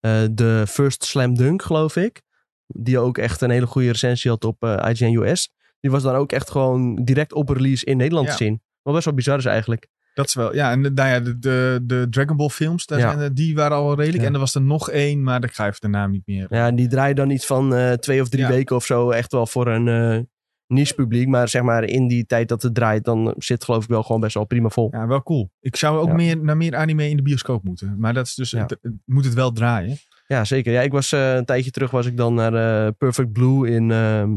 Speaker 2: eh, de First Slam Dunk, geloof ik. Die ook echt een hele goede recensie had op eh, IGN US. Die was dan ook echt gewoon direct op release in Nederland
Speaker 1: Ja.
Speaker 2: te zien. Wat best wel bizar is eigenlijk.
Speaker 1: Dat is wel, ja. En de, nou ja, de, de, de Dragon Ball films, daar
Speaker 2: Ja.
Speaker 1: zijn er- die waren al redelijk.
Speaker 2: Ja.
Speaker 1: En er was er nog één, maar ik ga even de naam niet meer.
Speaker 2: Ja, die draaien dan iets van eh, twee of drie
Speaker 1: Ja.
Speaker 2: weken of zo. Echt wel voor een eh niche publiek. Maar zeg maar in die tijd dat het draait, dan zit geloof ik wel gewoon best wel prima vol.
Speaker 1: Ja, wel cool. Ik zou ook
Speaker 2: Ja.
Speaker 1: meer, naar meer anime in de bioscoop moeten. Maar dat is dus,
Speaker 2: Ja.
Speaker 1: het- het moet het wel draaien.
Speaker 2: Ja, zeker. Ja, ik was eh, een tijdje terug was ik dan naar eh, Perfect Blue in ehm,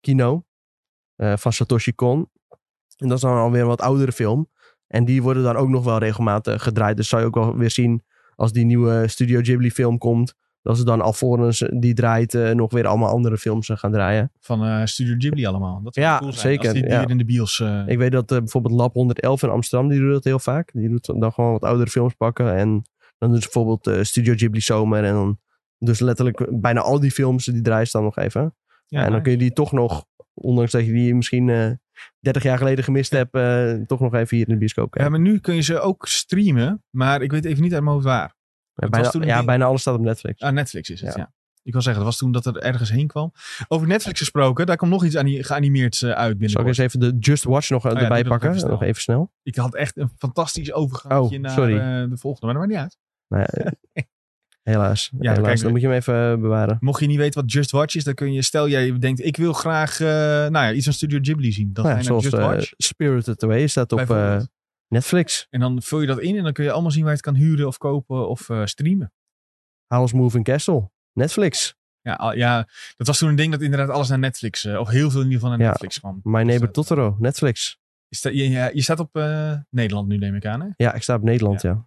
Speaker 2: Kino eh, van Satoshi Kon. En dat is dan alweer een wat oudere film. En die worden daar ook nog wel regelmatig gedraaid. Dus zou je ook wel weer zien als die nieuwe Studio Ghibli film komt. Dat ze dan alvorens die draait eh, nog weer allemaal andere films eh, gaan draaien.
Speaker 1: Van eh, Studio Ghibli allemaal. Dat zou
Speaker 2: Ja,
Speaker 1: cool zijn.
Speaker 2: zeker,
Speaker 1: Als die
Speaker 2: ja.
Speaker 1: weer in de bios... eh,
Speaker 2: Ik weet dat eh, bijvoorbeeld Lab 111 in Amsterdam, die doet dat heel vaak. Die doet dan gewoon wat oudere films pakken. En dan doen ze bijvoorbeeld eh, Studio Ghibli Zomer. En dan dus letterlijk bijna al die films, die draaien ze dan nog even.
Speaker 1: ja,
Speaker 2: en dan
Speaker 1: nice.
Speaker 2: kun je die toch nog, ondanks dat je die misschien eh 30 jaar geleden gemist hebt, eh, toch nog even hier in de bioscoop
Speaker 1: Ja,
Speaker 2: kijken.
Speaker 1: maar nu kun je ze ook streamen, maar ik weet even niet uit mijn hoofd waar.
Speaker 2: Ja,
Speaker 1: dat was toen
Speaker 2: bijna,
Speaker 1: een
Speaker 2: ja,
Speaker 1: ding.
Speaker 2: bijna alles staat op Netflix.
Speaker 1: Ah, Netflix is het,
Speaker 2: Ja.
Speaker 1: ja. Ik wil zeggen, dat was toen dat er ergens heen kwam. Over Netflix gesproken, daar komt nog iets ani- geanimeerd eh, uit
Speaker 2: Zal ik
Speaker 1: binnenkort. Oh
Speaker 2: eens even de Just Watch nog eh,
Speaker 1: ja,
Speaker 2: erbij
Speaker 1: doe dat
Speaker 2: pakken?
Speaker 1: even snel.
Speaker 2: nog even snel.
Speaker 1: Ik had echt een fantastisch overgangje
Speaker 2: Oh,
Speaker 1: naar
Speaker 2: sorry.
Speaker 1: eh, de volgende, maar dat maakt niet uit.
Speaker 2: Nou, ja, helaas.
Speaker 1: dan
Speaker 2: helaas.
Speaker 1: kijk
Speaker 2: Dan
Speaker 1: ik-
Speaker 2: moet je hem even eh, bewaren.
Speaker 1: Mocht je niet weten wat Just Watch is, dan kun je, stel jij denkt, ik wil graag eh, nou ja, iets van Studio Ghibli zien. Dan
Speaker 2: Nou
Speaker 1: ga
Speaker 2: ja,
Speaker 1: je naar
Speaker 2: zoals
Speaker 1: Just
Speaker 2: eh,
Speaker 1: Watch.
Speaker 2: Spirited Away staat op eh,
Speaker 1: bijvoorbeeld.
Speaker 2: Netflix.
Speaker 1: en dan vul je dat in en dan kun je allemaal zien waar je het kan huren of kopen of eh, streamen.
Speaker 2: Howl's Moving Castle. Netflix.
Speaker 1: Ja, al- ja, dat was toen een ding dat inderdaad alles naar Netflix, eh, of heel veel in ieder geval naar
Speaker 2: Ja.
Speaker 1: Netflix kwam.
Speaker 2: My Neighbor
Speaker 1: dat-
Speaker 2: Totoro. Netflix.
Speaker 1: Is dat- je, ja, je staat op eh, Nederland nu, neem ik aan. Hè?
Speaker 2: Ja, ik sta op Nederland, ja.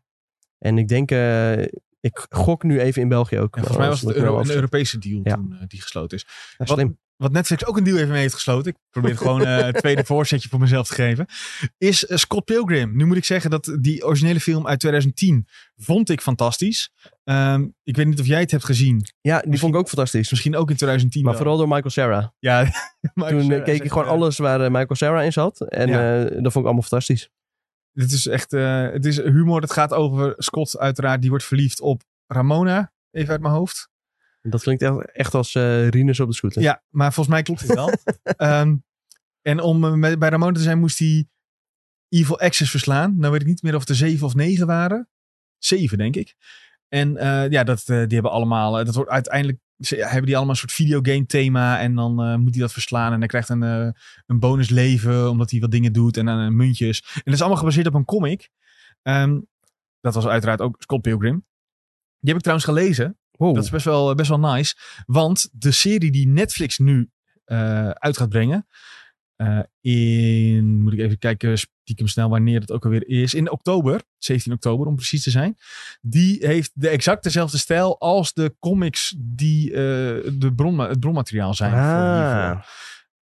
Speaker 2: En ik denk, eh, ik gok nu even in België ook.
Speaker 1: En volgens mij was
Speaker 2: Als
Speaker 1: het
Speaker 2: ik me
Speaker 1: euro-
Speaker 2: wel
Speaker 1: een
Speaker 2: af-
Speaker 1: Europese deal
Speaker 2: Ja.
Speaker 1: toen eh, die gesloten is.
Speaker 2: Ja, slim.
Speaker 1: Wat Netflix ook een deal even mee heeft gesloten. Ik probeer gewoon eh, het tweede voorzetje voor mezelf te geven. Is eh, Scott Pilgrim. Nu moet ik zeggen dat die originele film uit 2010 vond ik fantastisch. Ehm, ik weet niet of jij het hebt gezien.
Speaker 2: Ja, die vond ik ook fantastisch.
Speaker 1: Misschien ook in 2010.
Speaker 2: Maar
Speaker 1: wel.
Speaker 2: vooral door Michael Sarah.
Speaker 1: Ja, maar
Speaker 2: Toen eh,
Speaker 1: zeg-
Speaker 2: keek
Speaker 1: zeg,
Speaker 2: ik gewoon
Speaker 1: eh,
Speaker 2: alles waar eh, Michael Sarah in zat. En
Speaker 1: Ja.
Speaker 2: eh, dat vond ik allemaal fantastisch.
Speaker 1: Dit is echt. eh, het is humor. Het gaat over Scott, uiteraard. Die wordt verliefd op Ramona. Even uit mijn hoofd.
Speaker 2: Dat klinkt echt, echt als eh Rinus op de scooter.
Speaker 1: Ja, maar volgens mij klopt het wel. Ehm, en om eh, met, bij Ramona te zijn moest hij Evil Access verslaan. Nou weet ik niet meer of het er zeven of negen waren. Zeven, denk ik. En eh, ja, dat, eh, die hebben allemaal... eh, dat wordt uiteindelijk ze- hebben die allemaal een soort videogame thema. En dan eh, moet hij dat verslaan. En hij krijgt een, eh, een bonus leven. Omdat hij wat dingen doet. En dan eh, muntjes. En dat is allemaal gebaseerd op een comic. Ehm, dat was uiteraard ook Scott Pilgrim. Die heb ik trouwens gelezen.
Speaker 2: Wow.
Speaker 1: Dat is best wel, eh, best wel nice. Want de serie die Netflix nu eh, uit gaat brengen. eh, in, moet ik even kijken, stiekem snel wanneer het ook alweer is. In oktober, 17 oktober om precies te zijn. Die heeft de exact dezelfde stijl als de comics die eh, de bron, het bronmateriaal zijn. Voor hiervoor
Speaker 2: ah,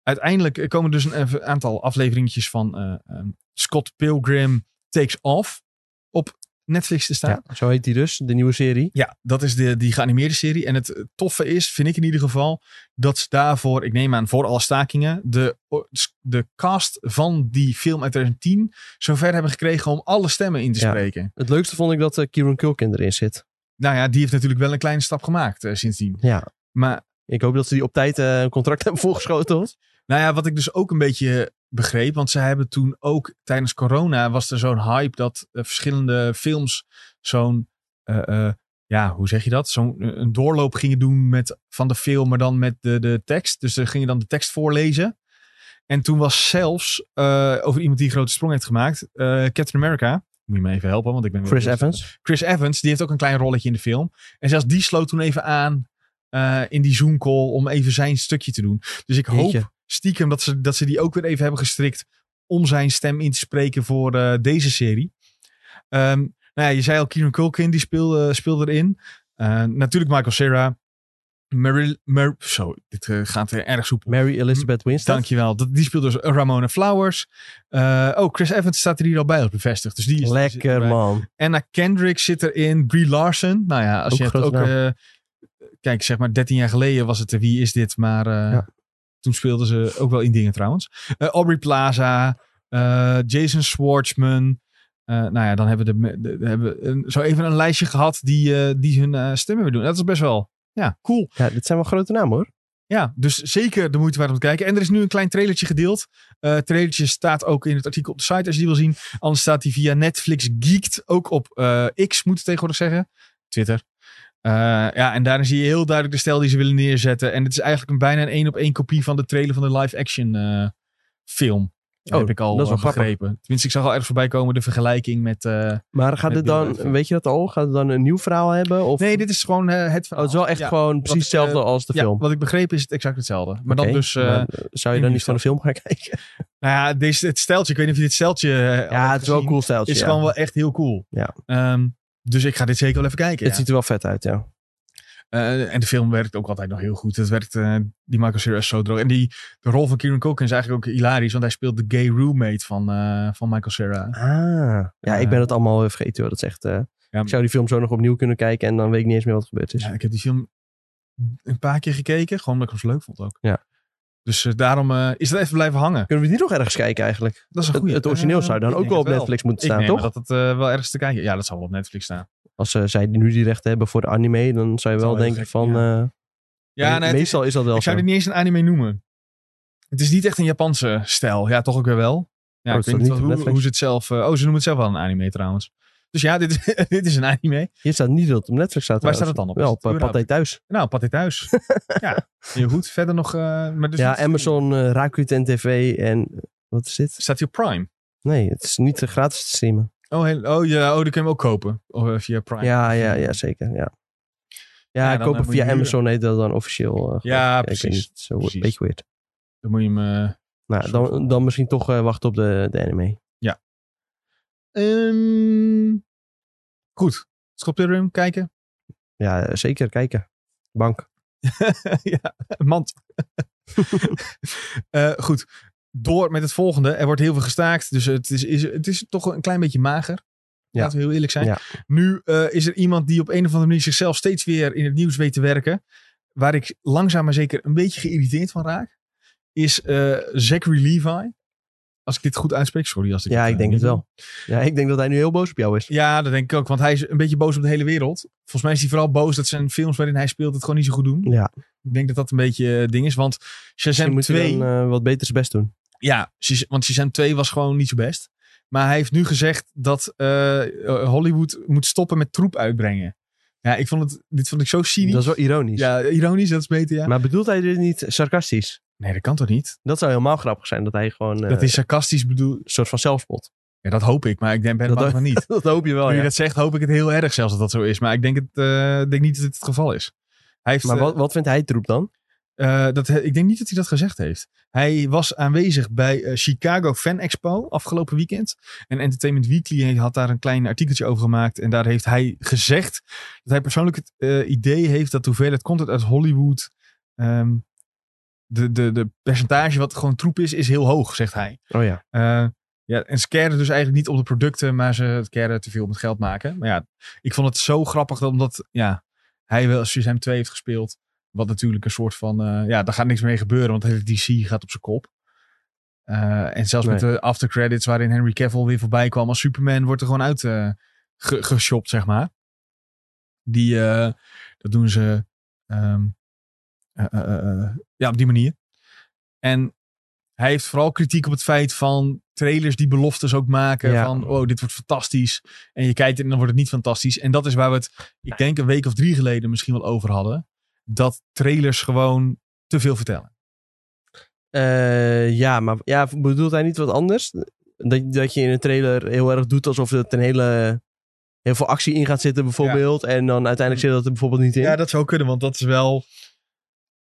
Speaker 1: uiteindelijk komen dus een een aantal afleveringetjes van eh, ehm, Scott Pilgrim Takes Off op Netflix te staan.
Speaker 2: ja, zo heet die dus, de nieuwe serie.
Speaker 1: Ja, dat is de, die geanimeerde serie. En het eh, toffe is, vind ik in ieder geval, dat ze daarvoor, ik neem aan voor alle stakingen, de, o- s- de cast van die film uit 2010 zover hebben gekregen om alle stemmen in te
Speaker 2: Ja.
Speaker 1: spreken.
Speaker 2: Het leukste vond ik dat eh, Kieran Culkin erin zit.
Speaker 1: Nou ja, die heeft natuurlijk wel een kleine stap gemaakt eh, sindsdien.
Speaker 2: Ja.
Speaker 1: Maar
Speaker 2: Ik hoop dat ze die op tijd eh, een contract hebben voorgeschoteld.
Speaker 1: Nou ja, wat ik dus ook een beetje begreep, want ze hebben toen ook tijdens corona was er zo'n hype dat eh, verschillende films zo'n, eh, eh, ja, hoe zeg je dat? Zo'n eh, een doorloop gingen doen met, van de film, maar dan met de, de tekst. Dus ze gingen dan de tekst voorlezen. En toen was zelfs, eh, over iemand die een grote sprong heeft gemaakt, eh, Captain America. Moet je me even helpen, want ik ben... weer-
Speaker 2: Chris Evans.
Speaker 1: Chris Evans, die heeft ook een klein rolletje in de film. En zelfs die sloot toen even aan eh, in die Zoom call om even zijn stukje te doen. Dus ik hoop
Speaker 2: Jeetje.
Speaker 1: stiekem dat ze, dat ze die ook weer even hebben gestrikt om zijn stem in te spreken voor eh, deze serie. Ehm, nou ja, je zei al, Kieran Culkin die speelde, speelde erin. Eh, natuurlijk Michael Cera. Meryl, Mer- zo, dit eh, gaat weer erg soepel.
Speaker 2: Mary Elizabeth Winstead.
Speaker 1: Dankjewel. Dat, die speelt dus Ramona Flowers. Eh, oh, Chris Evans staat er hier al bij als bevestigd. Dus die is, zit
Speaker 2: Lekker
Speaker 1: erbij.
Speaker 2: man.
Speaker 1: Anna Kendrick zit erin. Brie Larson. Nou ja, als
Speaker 2: Ook
Speaker 1: je het
Speaker 2: grote
Speaker 1: ook... eh, kijk, zeg maar 13 jaar geleden was het eh, Wie is dit? Maar eh,
Speaker 2: Ja.
Speaker 1: toen speelden ze ook wel in dingen trouwens. Eh, Aubrey Plaza. eh, Jason Schwartzman. Eh, nou ja, dan hebben we, de, me- de- de- hebben we een, zo even een lijstje gehad die, eh, die hun eh, stemmen weer doen. Dat is best wel ja, cool.
Speaker 2: Ja, dit zijn wel grote namen hoor.
Speaker 1: Ja, dus zeker de moeite waard om te kijken. En er is nu een klein trailertje gedeeld. Eh trailertje staat ook in het artikel op de site als je die wil zien. Anders staat die via Netflix Geeked. Ook op eh, X moet ik tegenwoordig zeggen. Twitter. Eh, ja, en daarin zie je heel duidelijk de stijl die ze willen neerzetten. En het is eigenlijk een bijna een één op één kopie van de trailer van de live action eh, film.
Speaker 2: Oh,
Speaker 1: heb ik al
Speaker 2: dat is wel
Speaker 1: eh,
Speaker 2: grappig.
Speaker 1: begrepen. Tenminste, ik zag al ergens voorbij komen de vergelijking met... eh,
Speaker 2: Maar gaat
Speaker 1: Met
Speaker 2: dit dan,
Speaker 1: beelden.
Speaker 2: weet je dat al? Gaat het dan een nieuw verhaal hebben? Of...
Speaker 1: Nee, dit is gewoon eh, het
Speaker 2: Oh, het is wel echt
Speaker 1: Ja,
Speaker 2: gewoon precies
Speaker 1: ik, eh,
Speaker 2: hetzelfde als de
Speaker 1: ja,
Speaker 2: film.
Speaker 1: wat ik begreep is het exact hetzelfde. Maar
Speaker 2: Oké,
Speaker 1: dan dus... eh,
Speaker 2: maar, eh, zou je dan
Speaker 1: nu
Speaker 2: niet van de film gaan kijken?
Speaker 1: Nou ja, deze, het steltje. Ik weet niet of je dit steltje eh, al
Speaker 2: Ja,
Speaker 1: hebt
Speaker 2: het is wel een
Speaker 1: gezien.
Speaker 2: cool stijltje.
Speaker 1: is
Speaker 2: ja.
Speaker 1: gewoon wel echt heel cool.
Speaker 2: Ja.
Speaker 1: Ehm, dus ik ga dit zeker wel even kijken.
Speaker 2: Het
Speaker 1: ja.
Speaker 2: ziet er wel vet uit, ja.
Speaker 1: Eh, en de film werkt ook altijd nog heel goed. Het werkt, eh, die Michael Cera is zo droog. En die, de rol van Kieran Culkin is eigenlijk ook hilarisch. Want hij speelt de gay roommate van, eh, van Michael Cera.
Speaker 2: Ah. Ja, ik ben
Speaker 1: Eh.
Speaker 2: het allemaal weer vergeten hoor. Dat is echt... eh,
Speaker 1: Ja.
Speaker 2: Ik zou die film zo nog opnieuw kunnen kijken en dan weet ik niet eens meer wat er gebeurd is.
Speaker 1: Ja, ik heb die film een paar keer gekeken. Gewoon omdat ik hem zo leuk vond ook.
Speaker 2: Ja.
Speaker 1: Dus eh, daarom eh, is dat even blijven hangen.
Speaker 2: Kunnen we die nog ergens kijken eigenlijk?
Speaker 1: Dat is een
Speaker 2: Het,
Speaker 1: goeie.
Speaker 2: het origineel
Speaker 1: Eh,
Speaker 2: zou dan
Speaker 1: ik
Speaker 2: ook
Speaker 1: denk
Speaker 2: wel op
Speaker 1: het
Speaker 2: Netflix moeten
Speaker 1: Ik
Speaker 2: staan,
Speaker 1: neem
Speaker 2: toch?
Speaker 1: aan dat het eh, wel ergens te kijken. Ja, dat zal wel op Netflix staan.
Speaker 2: Als eh, zij nu die rechten hebben voor de anime, dan zou je
Speaker 1: Dat
Speaker 2: wel
Speaker 1: zou heel
Speaker 2: denken
Speaker 1: gek,
Speaker 2: van... eh,
Speaker 1: Ja, nee,
Speaker 2: me-
Speaker 1: het is-
Speaker 2: meestal is dat wel
Speaker 1: ik zou
Speaker 2: zo.
Speaker 1: dit niet eens een anime noemen. Het is niet echt een Japanse stijl. Ja, toch ook weer wel. Ja,
Speaker 2: Oh,
Speaker 1: ik
Speaker 2: het
Speaker 1: weet
Speaker 2: staat
Speaker 1: niet
Speaker 2: niet op
Speaker 1: hoe,
Speaker 2: Netflix.
Speaker 1: hoe ze het zelf... eh, oh, ze noemen het zelf wel een anime trouwens. Dus ja, dit, is- dit is een anime.
Speaker 2: Hier staat niet dat het op Netflix staat.
Speaker 1: Waar staat
Speaker 2: trouwens.
Speaker 1: het dan op?
Speaker 2: Wel,
Speaker 1: Is
Speaker 2: op
Speaker 1: het
Speaker 2: eh, Pathé Thuis.
Speaker 1: Nou, pat dit thuis. ja, heel goed. Verder nog... eh, maar dus
Speaker 2: ja,
Speaker 1: niet-
Speaker 2: Amazon, eh, Rakuten TV en... eh, Wat is dit?
Speaker 1: Staat hier op Prime?
Speaker 2: Nee, het is niet eh, gratis te streamen.
Speaker 1: Oh, heel, oh, ja, oh, die kun je hem ook kopen. Of, eh, via Prime.
Speaker 2: Ja, ja, ja, zeker. Ja, ja,
Speaker 1: Ja, dan,
Speaker 2: ik koop
Speaker 1: eh,
Speaker 2: hem
Speaker 1: moet je
Speaker 2: via
Speaker 1: huren.
Speaker 2: Amazon heet dat dan officieel. eh, geloof
Speaker 1: Ja,
Speaker 2: ik. Ja, ik weet
Speaker 1: precies.
Speaker 2: niet, het is zo
Speaker 1: Precies.
Speaker 2: een beetje weird.
Speaker 1: Dan moet je hem... eh,
Speaker 2: Nou, dan, dan misschien toch eh, wachten op de, de anime.
Speaker 1: eh, ehm, goed. Sculptorium kijken.
Speaker 2: Ja, eh, zeker. Kijken. Bank.
Speaker 1: ja, mand. Eh, goed. Door met het volgende. Er wordt heel veel gestaakt. Dus het is, is, het is toch een klein beetje mager.
Speaker 2: Ja.
Speaker 1: Laten we heel eerlijk zijn.
Speaker 2: Ja.
Speaker 1: Nu eh, is er iemand die op een of andere manier zichzelf steeds weer in het nieuws weet te werken. Waar ik langzaam maar zeker een beetje geïrriteerd van raak. Is eh, Zachary Levi. Als ik dit goed uitspreek. Sorry als ik
Speaker 2: Ja,
Speaker 1: het,
Speaker 2: ik
Speaker 1: eh,
Speaker 2: denk
Speaker 1: niet
Speaker 2: het
Speaker 1: doe.
Speaker 2: wel. Ja, ik denk dat hij nu heel boos op jou is.
Speaker 1: Ja, dat denk ik ook. Want hij is een beetje boos op de hele wereld. Volgens mij is hij vooral boos dat zijn films waarin hij speelt het gewoon niet zo goed doen.
Speaker 2: Ja.
Speaker 1: Ik denk dat dat een beetje eh, ding is. Want
Speaker 2: Misschien
Speaker 1: Shazam
Speaker 2: moet
Speaker 1: 2...
Speaker 2: hij dan eh, wat beters best doen.
Speaker 1: Ja, Shaz- want Shazam 2 was gewoon niet zo best. Maar hij heeft nu gezegd dat eh, Hollywood moet stoppen met troep uitbrengen. Ja, ik vond het, dit vond ik zo cynisch.
Speaker 2: Dat is wel ironisch.
Speaker 1: Ja, ironisch, dat is beter, ja.
Speaker 2: Maar bedoelt hij dit niet sarcastisch?
Speaker 1: Nee, dat kan toch niet?
Speaker 2: Dat zou helemaal grappig zijn. Dat hij gewoon eh,
Speaker 1: dat is sarcastisch bedoeld.
Speaker 2: een soort van zelfspot.
Speaker 1: Ja, dat hoop ik, maar ik denk, ben
Speaker 2: Dat
Speaker 1: bang
Speaker 2: ook-
Speaker 1: van niet.
Speaker 2: dat hoop je wel,
Speaker 1: nu
Speaker 2: ja.
Speaker 1: je dat zegt, hoop ik het heel erg zelfs dat dat zo is. Maar ik denk, het, eh, ik denk niet dat dit het geval is. Hij heeft,
Speaker 2: Maar
Speaker 1: eh,
Speaker 2: wat, wat vindt hij troep dan?
Speaker 1: Eh, dat, he- ik denk niet dat hij dat gezegd heeft. Hij was aanwezig bij eh, Chicago Fan Expo afgelopen weekend. En Entertainment Weekly had daar een klein artikeltje over gemaakt. En daar heeft hij gezegd dat hij persoonlijk het eh, idee heeft dat de hoeveelheid content uit Hollywood. ehm, de, de, de percentage wat gewoon troep is, is heel hoog, zegt hij.
Speaker 2: Oh ja.
Speaker 1: Eh, ja, en ze caren dus eigenlijk niet op de producten, maar ze caren te veel om het geld maken. Maar ja, ik vond het zo grappig dat- omdat ja, hij wel Shazam 2 heeft gespeeld. Wat natuurlijk een soort van, eh, ja, daar gaat niks mee gebeuren, want de hele DC gaat op zijn kop. Eh, en zelfs met de aftercredits waarin Henry Cavill weer voorbij kwam als Superman, wordt er gewoon uit eh, ge- geshopt, zeg maar. Die, eh, dat doen ze ehm, eh, eh, eh, eh, ja, op die manier. En hij heeft vooral kritiek op het feit van trailers die beloftes ook maken.
Speaker 2: Ja.
Speaker 1: Van, oh, dit wordt fantastisch. En je kijkt en dan wordt het niet fantastisch. En dat is waar we het, ik denk een week of drie geleden misschien wel over hadden. Dat trailers gewoon te veel vertellen.
Speaker 2: Eh, ja, maar ja, bedoelt hij niet wat anders? Dat, dat je in een trailer heel erg doet alsof er een hele, heel veel actie in gaat zitten bijvoorbeeld. En dan uiteindelijk zit dat er bijvoorbeeld niet in.
Speaker 1: Ja, dat zou kunnen, want dat is wel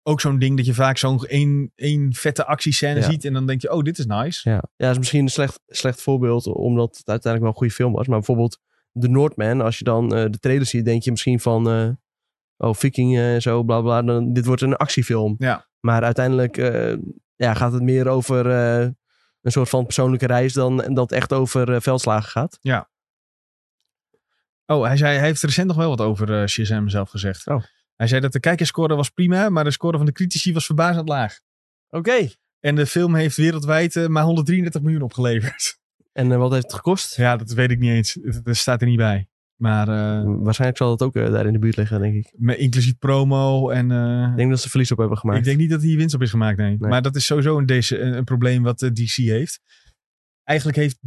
Speaker 1: ook zo'n ding dat je vaak zo'n één, één vette actiescène
Speaker 2: Ja.
Speaker 1: ziet. En dan denk je, oh, dit is nice.
Speaker 2: Ja, ja is misschien een slecht, slecht voorbeeld, omdat het uiteindelijk wel een goede film was. Maar bijvoorbeeld The Northman, als je dan eh, de trailer ziet, denk je misschien van... eh, oh, vikingen en zo, bla bla. Dan, dit wordt een actiefilm.
Speaker 1: Ja.
Speaker 2: Maar uiteindelijk eh, ja, gaat het meer over eh, een soort van persoonlijke reis... dan dat echt over eh, veldslagen gaat.
Speaker 1: Oh, hij, zei, hij heeft recent nog wel wat over eh, Shazam zelf gezegd.
Speaker 2: Oh.
Speaker 1: Hij zei dat de kijkerscore was prima, maar de score van de critici was verbazend laag.
Speaker 2: Oké.
Speaker 1: En de film heeft wereldwijd eh, maar 133 miljoen opgeleverd.
Speaker 2: En eh, wat heeft het gekost?
Speaker 1: ja, dat weet ik niet eens. Het- Dat staat er niet bij. Maar eh,
Speaker 2: Waarschijnlijk zal dat ook eh, daar in de buurt liggen, denk ik.
Speaker 1: met inclusief promo en... eh,
Speaker 2: Ik denk dat ze verlies op hebben gemaakt.
Speaker 1: Ik denk niet dat hier winst op is gemaakt, nee.
Speaker 2: Nee.
Speaker 1: Maar dat is sowieso een, deze, een, een probleem wat eh, DC heeft. Eigenlijk heeft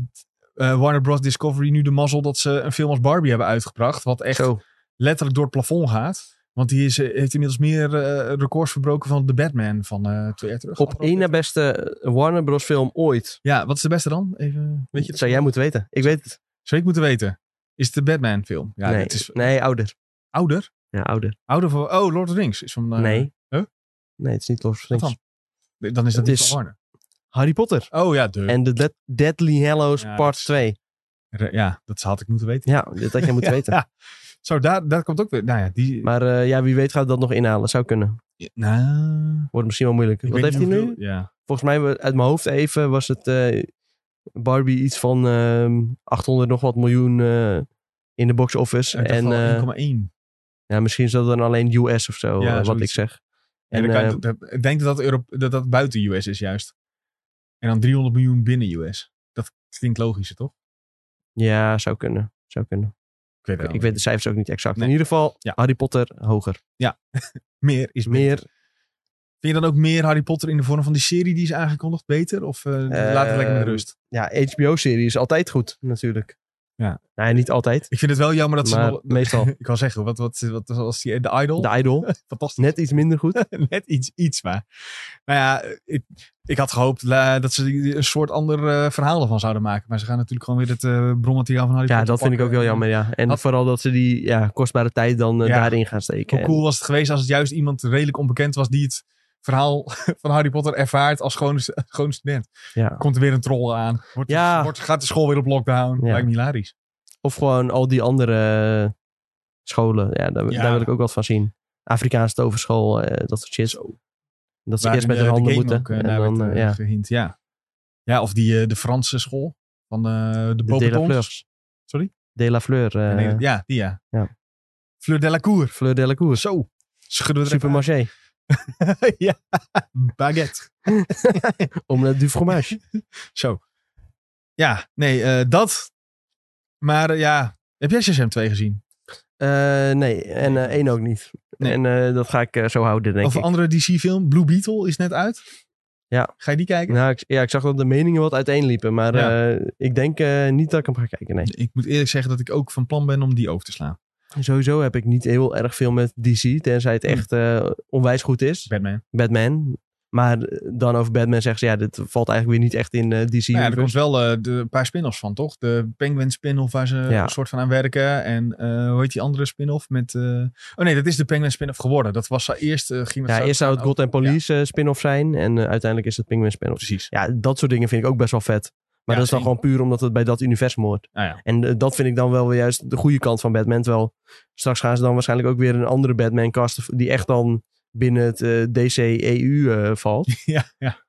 Speaker 1: eh, Warner Bros. Discovery nu de mazzel dat ze een film als Barbie hebben uitgebracht. Wat echt
Speaker 2: Zo.
Speaker 1: letterlijk door het plafond gaat. Want die is, eh, heeft inmiddels meer eh, records verbroken van de Batman van eh, twee jaar terug.
Speaker 2: Op
Speaker 1: Afgelopen
Speaker 2: één na beste Warner Bros. film ooit.
Speaker 1: Ja, wat is de beste dan? Even, weet je
Speaker 2: Dat
Speaker 1: dat?
Speaker 2: zou jij moeten weten. Ik weet het.
Speaker 1: Zou ik moeten weten? Is het de Batman film? Ja,
Speaker 2: nee,
Speaker 1: het is
Speaker 2: nee, ouder.
Speaker 1: ouder.
Speaker 2: Ja, ouder.
Speaker 1: Ouder van... Oh, Lord of the Rings is van... eh,
Speaker 2: nee.
Speaker 1: huh?
Speaker 2: Nee, het is niet Lord of the
Speaker 1: Wat
Speaker 2: Rings.
Speaker 1: Dan is dat
Speaker 2: Het
Speaker 1: niet
Speaker 2: is-
Speaker 1: van Warner.
Speaker 2: Harry Potter.
Speaker 1: Oh ja, de...
Speaker 2: En de Dead- Deadly Hallows
Speaker 1: Ja, dat
Speaker 2: Part
Speaker 1: is-
Speaker 2: 2.
Speaker 1: Re- Ja, dat had ik moeten weten.
Speaker 2: Ja, dat had jij moeten weten.
Speaker 1: Ja. Zo, daar, daar komt ook weer... Nou ja, die...
Speaker 2: Maar eh, ja, wie weet gaat dat nog inhalen. Zou kunnen.
Speaker 1: Nou, ik
Speaker 2: Wordt misschien wel moeilijk.
Speaker 1: weet
Speaker 2: Wat heeft hij
Speaker 1: niet
Speaker 2: nu?
Speaker 1: hoeveel- Ja.
Speaker 2: Volgens mij we- uit mijn hoofd even was het eh, Barbie iets van ehm, 800 nog wat miljoen eh, in de box office.
Speaker 1: En,
Speaker 2: En eh,
Speaker 1: 1,1.
Speaker 2: ja, misschien is dat dan alleen US of zo,
Speaker 1: Ja,
Speaker 2: eh, wat ik
Speaker 1: zoiets.
Speaker 2: zeg.
Speaker 1: En,
Speaker 2: En,
Speaker 1: dan kan je
Speaker 2: eh,
Speaker 1: dat- dat- ik denk dat dat, Europe, dat dat buiten US is juist. En dan 300 miljoen binnen US. Dat klinkt logischer, toch?
Speaker 2: ja, zou kunnen. Zou kunnen.
Speaker 1: Ik weet het
Speaker 2: ik weet dus de cijfers ook niet exact.
Speaker 1: Nee.
Speaker 2: In ieder geval,
Speaker 1: Ja.
Speaker 2: Harry Potter hoger.
Speaker 1: Meer is meer.
Speaker 2: Meer.
Speaker 1: Vind je dan ook meer Harry Potter in de vorm van die serie die is aangekondigd beter? Of eh, laat het lekker met
Speaker 2: Ehm,
Speaker 1: rust?
Speaker 2: Ja, HBO-serie is altijd goed, natuurlijk.
Speaker 1: Ja.
Speaker 2: Nee, niet altijd.
Speaker 1: Ik vind het wel jammer dat
Speaker 2: maar
Speaker 1: ze nog...
Speaker 2: meestal.
Speaker 1: Ik kan zeggen, wat, wat, wat was die? De Idol?
Speaker 2: De Idol.
Speaker 1: Fantastisch.
Speaker 2: Net iets minder goed.
Speaker 1: Net iets, iets maar. Nou ja, ik, ik had gehoopt eh, dat ze die- een soort ander eh, verhaal ervan zouden maken. Maar ze gaan natuurlijk gewoon weer het eh, bronmateriaal van Harry
Speaker 2: Ja,
Speaker 1: Potter
Speaker 2: dat vind ik ook
Speaker 1: pakken.
Speaker 2: heel jammer, ja. En
Speaker 1: Had-
Speaker 2: vooral dat ze die ja, kostbare tijd dan eh,
Speaker 1: Ja.
Speaker 2: daarin gaan steken.
Speaker 1: Hoe cool was het geweest als het juist iemand redelijk onbekend was die het verhaal van Harry Potter ervaart als gewoon, gewoon student.
Speaker 2: Ja.
Speaker 1: Komt er weer een troll aan. Wordt,
Speaker 2: Ja.
Speaker 1: wordt, gaat de school weer op lockdown.
Speaker 2: Ja.
Speaker 1: Lijkt me hilarisch.
Speaker 2: Of gewoon al die andere eh, scholen. Ja, daar,
Speaker 1: Ja.
Speaker 2: daar wil ik ook wat van zien. Afrikaanse toverschool, eh, dat soort shit. Dat ze
Speaker 1: Waarin,
Speaker 2: eerst met
Speaker 1: eh,
Speaker 2: hun
Speaker 1: de
Speaker 2: handen
Speaker 1: game
Speaker 2: moeten.
Speaker 1: ook, eh,
Speaker 2: en
Speaker 1: naar
Speaker 2: dan,
Speaker 1: werd,
Speaker 2: eh,
Speaker 1: eh,
Speaker 2: ja,
Speaker 1: gehind, ja. Ja, of die, eh, de Franse school van eh, de
Speaker 2: de la
Speaker 1: Beaupetons.
Speaker 2: Fleur.
Speaker 1: Sorry?
Speaker 2: De la Fleur. eh,
Speaker 1: Nee, ja, die ja.
Speaker 2: ja.
Speaker 1: Fleur Delacour.
Speaker 2: Fleur de la Cour.
Speaker 1: Zo. Schudden we er even
Speaker 2: Supermarché.
Speaker 1: aan. ja. Baguette. eh,
Speaker 2: Omelette du fromage.
Speaker 1: Zo. Ja, nee, eh, dat. Maar eh, ja, heb jij Shazam 2 gezien?
Speaker 2: Eh, nee, en eh, één ook niet.
Speaker 1: Nee.
Speaker 2: En eh, dat ga ik eh, zo houden, denk
Speaker 1: of een
Speaker 2: ik.
Speaker 1: andere DC-film, Blue Beetle, is net uit.
Speaker 2: Ja.
Speaker 1: Ga je die kijken?
Speaker 2: Nou, ik, ja, ik zag dat de meningen wat uiteenliepen. Maar
Speaker 1: Ja.
Speaker 2: eh, ik denk eh, niet dat ik hem ga kijken, nee.
Speaker 1: Ik moet eerlijk zeggen dat ik ook van plan ben om die over te slaan.
Speaker 2: Sowieso heb ik niet heel erg veel met DC, tenzij het
Speaker 1: Hm.
Speaker 2: echt eh, onwijs goed is.
Speaker 1: Batman.
Speaker 2: Batman. Maar eh, dan over Batman zeggen ze, ja, dit valt eigenlijk weer niet echt in eh, DC.
Speaker 1: Nou ja, er
Speaker 2: universe.
Speaker 1: komt wel eh, de, een paar spin-offs van, toch? De Penguin spin-off waar ze
Speaker 2: Ja.
Speaker 1: een soort van aan werken. En eh, hoe heet die andere spin-off met... eh, Oh nee, dat is de Penguin spin-off geworden. Dat was eh, eerst... eh, ging
Speaker 2: ja, eerst zou het
Speaker 1: ook-
Speaker 2: God and Police eh, spin-off zijn en eh, uiteindelijk is het Penguin spin-off.
Speaker 1: Precies.
Speaker 2: Ja, dat soort dingen vind ik ook best wel vet.
Speaker 1: Ja,
Speaker 2: Maar dat is dan
Speaker 1: zeker.
Speaker 2: gewoon puur omdat het bij dat universum hoort.
Speaker 1: Nou ja.
Speaker 2: En eh, dat vind ik dan wel weer juist de goede kant van Batman. Terwijl straks gaan ze dan waarschijnlijk ook weer een andere Batman casten die echt dan binnen het eh, DC-EU eh, valt.
Speaker 1: ja, ja.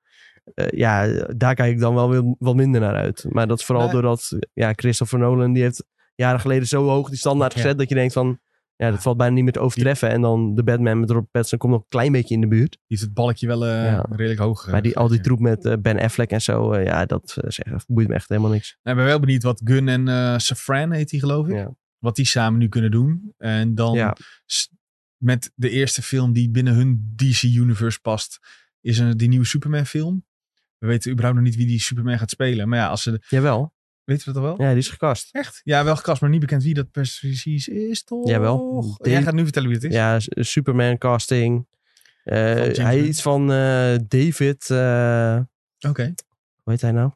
Speaker 2: eh, ja, daar kijk ik dan wel weer wat minder naar uit. Maar dat is vooral
Speaker 1: Nee.
Speaker 2: doordat eh, ja, Christopher Nolan, die heeft jaren geleden zo hoog die standaard
Speaker 1: Ja.
Speaker 2: gezet dat je denkt van, ja, dat valt bijna niet meer te overtreffen. En dan de Batman met Robert Pattinson komt nog een klein beetje in de buurt.
Speaker 1: Die is het balkje wel eh,
Speaker 2: Ja.
Speaker 1: redelijk hoog. eh,
Speaker 2: maar die, al die
Speaker 1: gegeven.
Speaker 2: troep met eh, Ben Affleck en zo, eh, ja, dat eh, zeg, dat boeit me echt helemaal niks.
Speaker 1: Nou, ik ben wel benieuwd wat Gun en eh Safran heet die, geloof ik.
Speaker 2: Ja.
Speaker 1: Wat die samen nu kunnen doen. En dan
Speaker 2: Ja.
Speaker 1: s- met de eerste film die binnen hun DC-universe past, is een, die nieuwe Superman-film. We weten überhaupt nog niet wie die Superman gaat spelen. Maar ja, als ze.
Speaker 2: Jawel,
Speaker 1: Weten we dat al wel?
Speaker 2: ja, die is gekast.
Speaker 1: Echt? Ja, wel gekast, maar niet bekend wie dat precies is, toch?
Speaker 2: Jawel.
Speaker 1: Jij
Speaker 2: Die-
Speaker 1: gaat nu vertellen wie het is.
Speaker 2: Ja, S- eh, Superman casting. Eh,
Speaker 1: James
Speaker 2: hij
Speaker 1: Gunn.
Speaker 2: iets van eh, David, eh,
Speaker 1: Oké.
Speaker 2: hoe heet hij nou?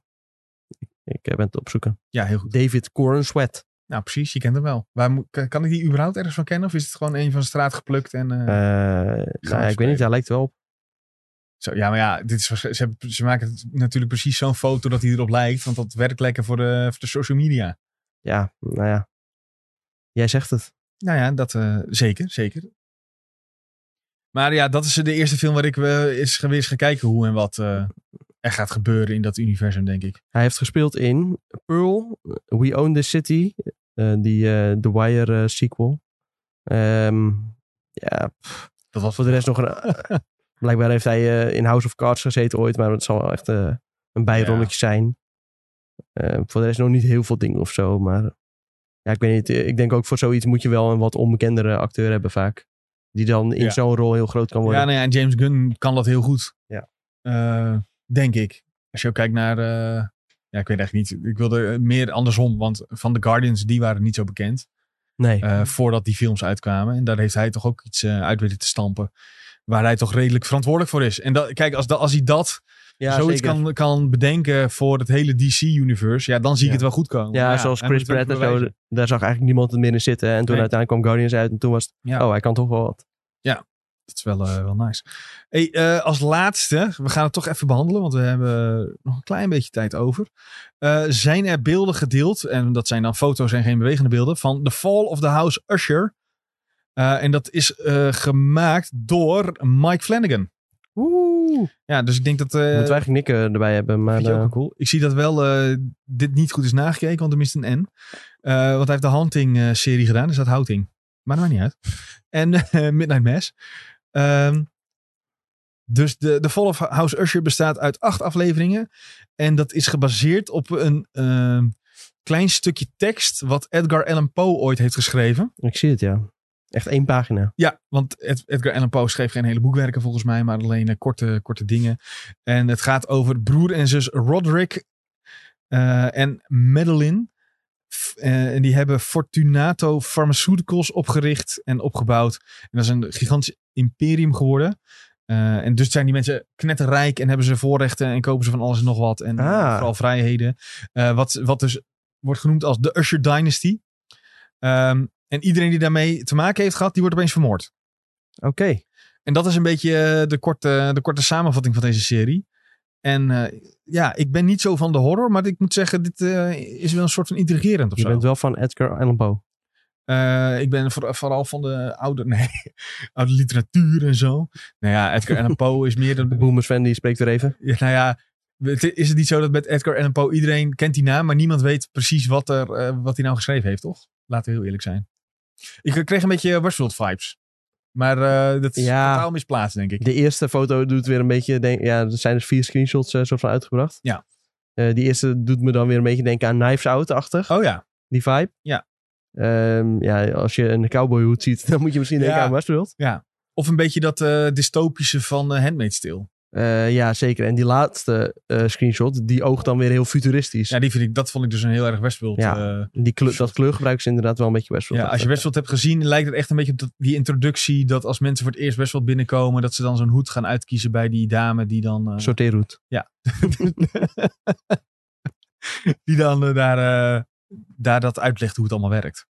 Speaker 2: Ik, ik eh, ben het opzoeken.
Speaker 1: Ja, heel goed.
Speaker 2: David Corn Sweat.
Speaker 1: Nou, precies. Je kent hem wel. Waar moet, kan- kan ik die überhaupt ergens van kennen? Of is het gewoon een van de straat geplukt? En, eh,
Speaker 2: Eh, nou, ja, ik weet
Speaker 1: spelen.
Speaker 2: niet, hij lijkt er wel op.
Speaker 1: Zo, ja, maar ja, dit is, waarsch- ze, hebben- ze maken het natuurlijk precies zo'n foto dat hij erop lijkt. Want dat werkt lekker voor de, voor de social media.
Speaker 2: Ja, nou ja. Jij zegt het.
Speaker 1: Nou ja, dat eh, zeker, zeker. Maar ja, dat is de eerste film waar ik eh, eens ga- weer eens ga kijken hoe en wat eh, er gaat gebeuren in dat universum, denk ik.
Speaker 2: Hij heeft gespeeld in Pearl, We Own This City, eh, die eh, The Wire eh, sequel. Ehm, ja,
Speaker 1: Dat was
Speaker 2: voor de rest nog een... blijkbaar heeft hij eh, in House of Cards gezeten ooit, maar het zal wel echt eh, een bijrolletje zijn. Eh, voor de rest nog niet heel veel dingen of zo, maar... Ja, ik weet niet. eh, Ik denk ook voor zoiets moet je wel een wat onbekendere acteur hebben vaak. Die dan in
Speaker 1: Ja.
Speaker 2: zo'n rol heel groot kan worden.
Speaker 1: Ja, nou ja, en James Gunn kan dat heel goed.
Speaker 2: Ja.
Speaker 1: Eh, denk ik. Als je ook kijkt naar... eh, ja, ik weet eigenlijk niet. Ik wilde eh, meer andersom, want van de Guardians, die waren niet zo bekend.
Speaker 2: Nee.
Speaker 1: eh, voordat die films uitkwamen. En daar heeft hij toch ook iets eh, uit willen te stampen. Waar hij toch redelijk verantwoordelijk voor is. En dat, kijk, als, da- als hij dat
Speaker 2: ja,
Speaker 1: zoiets
Speaker 2: zeker.
Speaker 1: kan, kan bedenken voor het hele DC-universe, ja, dan zie ik
Speaker 2: Ja.
Speaker 1: het wel goed komen.
Speaker 2: Ja,
Speaker 1: Maar
Speaker 2: zoals
Speaker 1: hij
Speaker 2: Chris
Speaker 1: moet het ook
Speaker 2: Pratt en zo.
Speaker 1: bewijzen.
Speaker 2: Daar zag eigenlijk niemand het meer in zitten. En toen
Speaker 1: Nee.
Speaker 2: uiteindelijk kwam Guardians uit. En toen was het,
Speaker 1: Ja.
Speaker 2: oh, hij kan toch wel wat.
Speaker 1: Dat is wel, eh, wel nice. Hey, eh, als laatste, we gaan het toch even behandelen, want we hebben nog een klein beetje tijd over. Eh, zijn er beelden gedeeld, en dat zijn dan foto's en geen bewegende beelden, van The Fall of the House Usher. Eh, en dat is eh, gemaakt door Mike Flanagan.
Speaker 2: Oeh.
Speaker 1: Ja, dus ik denk dat... eh,
Speaker 2: Moeten we eigenlijk Nick erbij hebben. Maar
Speaker 1: vind je ook
Speaker 2: eh,
Speaker 1: wel cool. Ik zie dat wel eh, dit niet goed is nagekeken, want er mist een N. Eh, want hij heeft de Hunting-serie gedaan, dus dat Houting. Maar dat maakt nou niet uit. En eh, Midnight Mass. Ehm, dus de, de Fall of House Usher bestaat uit acht afleveringen. En dat is gebaseerd op een ehm, klein stukje tekst wat Edgar Allan Poe ooit heeft geschreven.
Speaker 2: ik zie het, ja. Echt één pagina.
Speaker 1: Ja, want Ed- Edgar Allan Poe schreef geen hele boekwerken volgens mij, maar alleen eh, korte, korte dingen. En het gaat over broer en zus Roderick eh, en Madeline. F- eh, en die hebben Fortunato Pharmaceuticals opgericht en opgebouwd. En dat is een gigantisch imperium geworden. Eh, en dus zijn die mensen knetterrijk en hebben ze voorrechten en kopen ze van alles en nog wat. En eh,
Speaker 2: Ah.
Speaker 1: vooral vrijheden. Eh, wat, wat dus wordt genoemd als de Usher Dynasty. Ehm, en iedereen die daarmee te maken heeft gehad, die wordt opeens vermoord.
Speaker 2: Oké.
Speaker 1: En dat is een beetje eh, de korte, de korte samenvatting van deze serie. En eh, ja, ik ben niet zo van de horror, maar ik moet zeggen, dit eh, is wel een soort van intrigerend of
Speaker 2: Je
Speaker 1: zo.
Speaker 2: bent wel van Edgar Allan Poe.
Speaker 1: Eh, ik ben voor- vooral van de oude, nee, oude literatuur en zo. Nou ja, Edgar Allan Poe is meer dan...
Speaker 2: De Boomers fan, die spreekt er even.
Speaker 1: Ja, nou ja, het- is het niet zo dat met Edgar Allan Poe iedereen kent die naam, maar niemand weet precies wat, er, eh, wat hij nou geschreven heeft, toch? Laten we heel eerlijk zijn. Ik eh, kreeg een beetje Westworld vibes. Maar eh, dat is
Speaker 2: Ja.
Speaker 1: totaal misplaatst, denk ik.
Speaker 2: De eerste foto doet weer een beetje... Denk, ja, er zijn dus vier screenshots eh, soort van uitgebracht.
Speaker 1: Ja.
Speaker 2: Eh, die eerste doet me dan weer een beetje denken aan Knives Out-achtig.
Speaker 1: Oh ja.
Speaker 2: Die vibe.
Speaker 1: Ja.
Speaker 2: Ehm, ja, als je een cowboyhoed ziet, dan moet je misschien denken
Speaker 1: Ja.
Speaker 2: aan Westworld.
Speaker 1: Of een beetje dat eh, dystopische van eh Handmaid's Tale.
Speaker 2: Eh, ja, zeker. En die laatste eh, screenshot, die oogt dan weer heel futuristisch.
Speaker 1: Ja, die vind ik, dat vond ik dus een heel erg Westworld.
Speaker 2: Ja.
Speaker 1: eh,
Speaker 2: Die kleur, dat kleurgebruik is inderdaad wel een beetje Westworld.
Speaker 1: ja, als je Westworld hebt gezien, lijkt het echt een beetje op dat- die introductie. Dat als mensen voor het eerst Westworld binnenkomen, dat ze dan zo'n hoed gaan uitkiezen bij die dame die dan... eh,
Speaker 2: Sorteerroet.
Speaker 1: die dan eh, daar, eh, daar dat uitlegt hoe het allemaal werkt.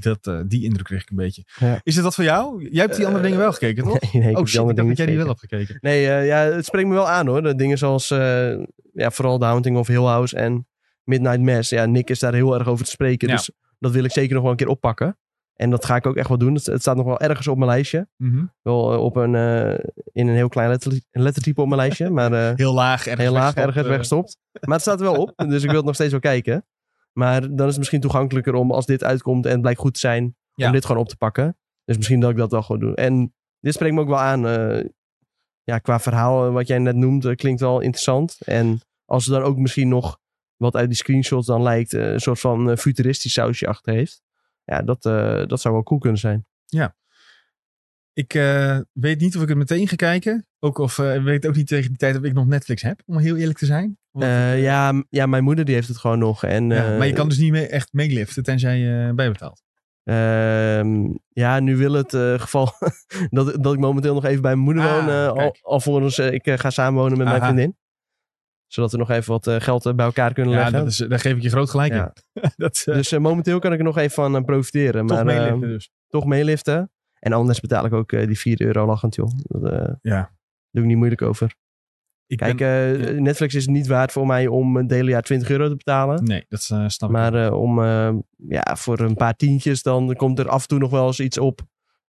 Speaker 1: Dat, eh, die indruk kreeg ik een beetje.
Speaker 2: Ja.
Speaker 1: Is het dat voor jou? Jij hebt die andere
Speaker 2: Eh,
Speaker 1: dingen wel gekeken, toch?
Speaker 2: Nee, nee,
Speaker 1: oh
Speaker 2: ik heb die
Speaker 1: shit,
Speaker 2: andere
Speaker 1: ik dacht dat jij die wel
Speaker 2: dingen niet
Speaker 1: hebt gekeken.
Speaker 2: gekeken. Nee, eh, ja, het spreekt me wel aan hoor. De dingen zoals eh, ja, vooral The Haunting of Hill House en Midnight Mass. Ja, Nick is daar heel erg over te spreken.
Speaker 1: Ja.
Speaker 2: Dus dat wil ik zeker nog wel een keer oppakken. En dat ga ik ook echt wel doen. Het, het staat nog wel ergens op mijn lijstje.
Speaker 1: Mhm.
Speaker 2: Wel eh, op een, eh, in een heel klein letter, lettertype op mijn lijstje. Maar eh,
Speaker 1: Heel laag, ergens
Speaker 2: heel laag
Speaker 1: weggestopt,
Speaker 2: ergens
Speaker 1: eh,
Speaker 2: weggestopt. Maar het staat er wel op, dus ik wil het nog steeds wel kijken. Maar dan is het misschien toegankelijker om als dit uitkomt en het blijkt goed te zijn,
Speaker 1: Ja.
Speaker 2: om dit gewoon op te pakken. Dus misschien dat ik dat wel gewoon doe. En dit spreekt me ook wel aan. eh, ja, qua verhaal eh, wat jij net noemt, eh, klinkt wel interessant. En als er dan ook misschien nog wat uit die screenshots dan lijkt, eh, een soort van eh, futuristisch sausje achter heeft. Ja, dat, eh, dat zou wel cool kunnen zijn.
Speaker 1: Ik eh, weet niet of ik het meteen ga kijken. Ook of eh, ik weet ook niet tegen die tijd dat ik nog Netflix heb, om heel eerlijk te zijn. Want,
Speaker 2: Eh,
Speaker 1: eh,
Speaker 2: ja, m- ja, mijn moeder die heeft het gewoon nog. En,
Speaker 1: ja,
Speaker 2: eh,
Speaker 1: maar je kan dus niet meer echt meeliften tenzij je eh, bijbetaalt.
Speaker 2: Ehm, ja, nu wil het eh, geval dat, dat ik momenteel nog even bij mijn moeder
Speaker 1: Ah,
Speaker 2: woon. eh, al,
Speaker 1: kijk.
Speaker 2: alvorens eh, ik eh, ga samenwonen met mijn
Speaker 1: Aha.
Speaker 2: vriendin. Zodat we nog even wat eh, geld eh, bij elkaar kunnen
Speaker 1: Ja,
Speaker 2: leggen.
Speaker 1: dat is, daar geef ik je groot gelijk
Speaker 2: Ja.
Speaker 1: in. dat, eh,
Speaker 2: Dus eh, momenteel kan ik er nog even van eh, profiteren.
Speaker 1: toch
Speaker 2: maar eh,
Speaker 1: meeliften dus.
Speaker 2: toch meeliften. En anders betaal ik ook eh, die 4 euro lachend, joh. Dat, eh,
Speaker 1: Ja.
Speaker 2: Doe ik niet moeilijk over.
Speaker 1: Ik
Speaker 2: Kijk,
Speaker 1: ben-
Speaker 2: eh, Netflix is niet waard voor mij om een hele jaar 20 euro te betalen.
Speaker 1: nee, dat eh, snap ik.
Speaker 2: Maar eh, om, eh, ja, voor een paar tientjes, dan komt er af en toe nog wel eens iets op.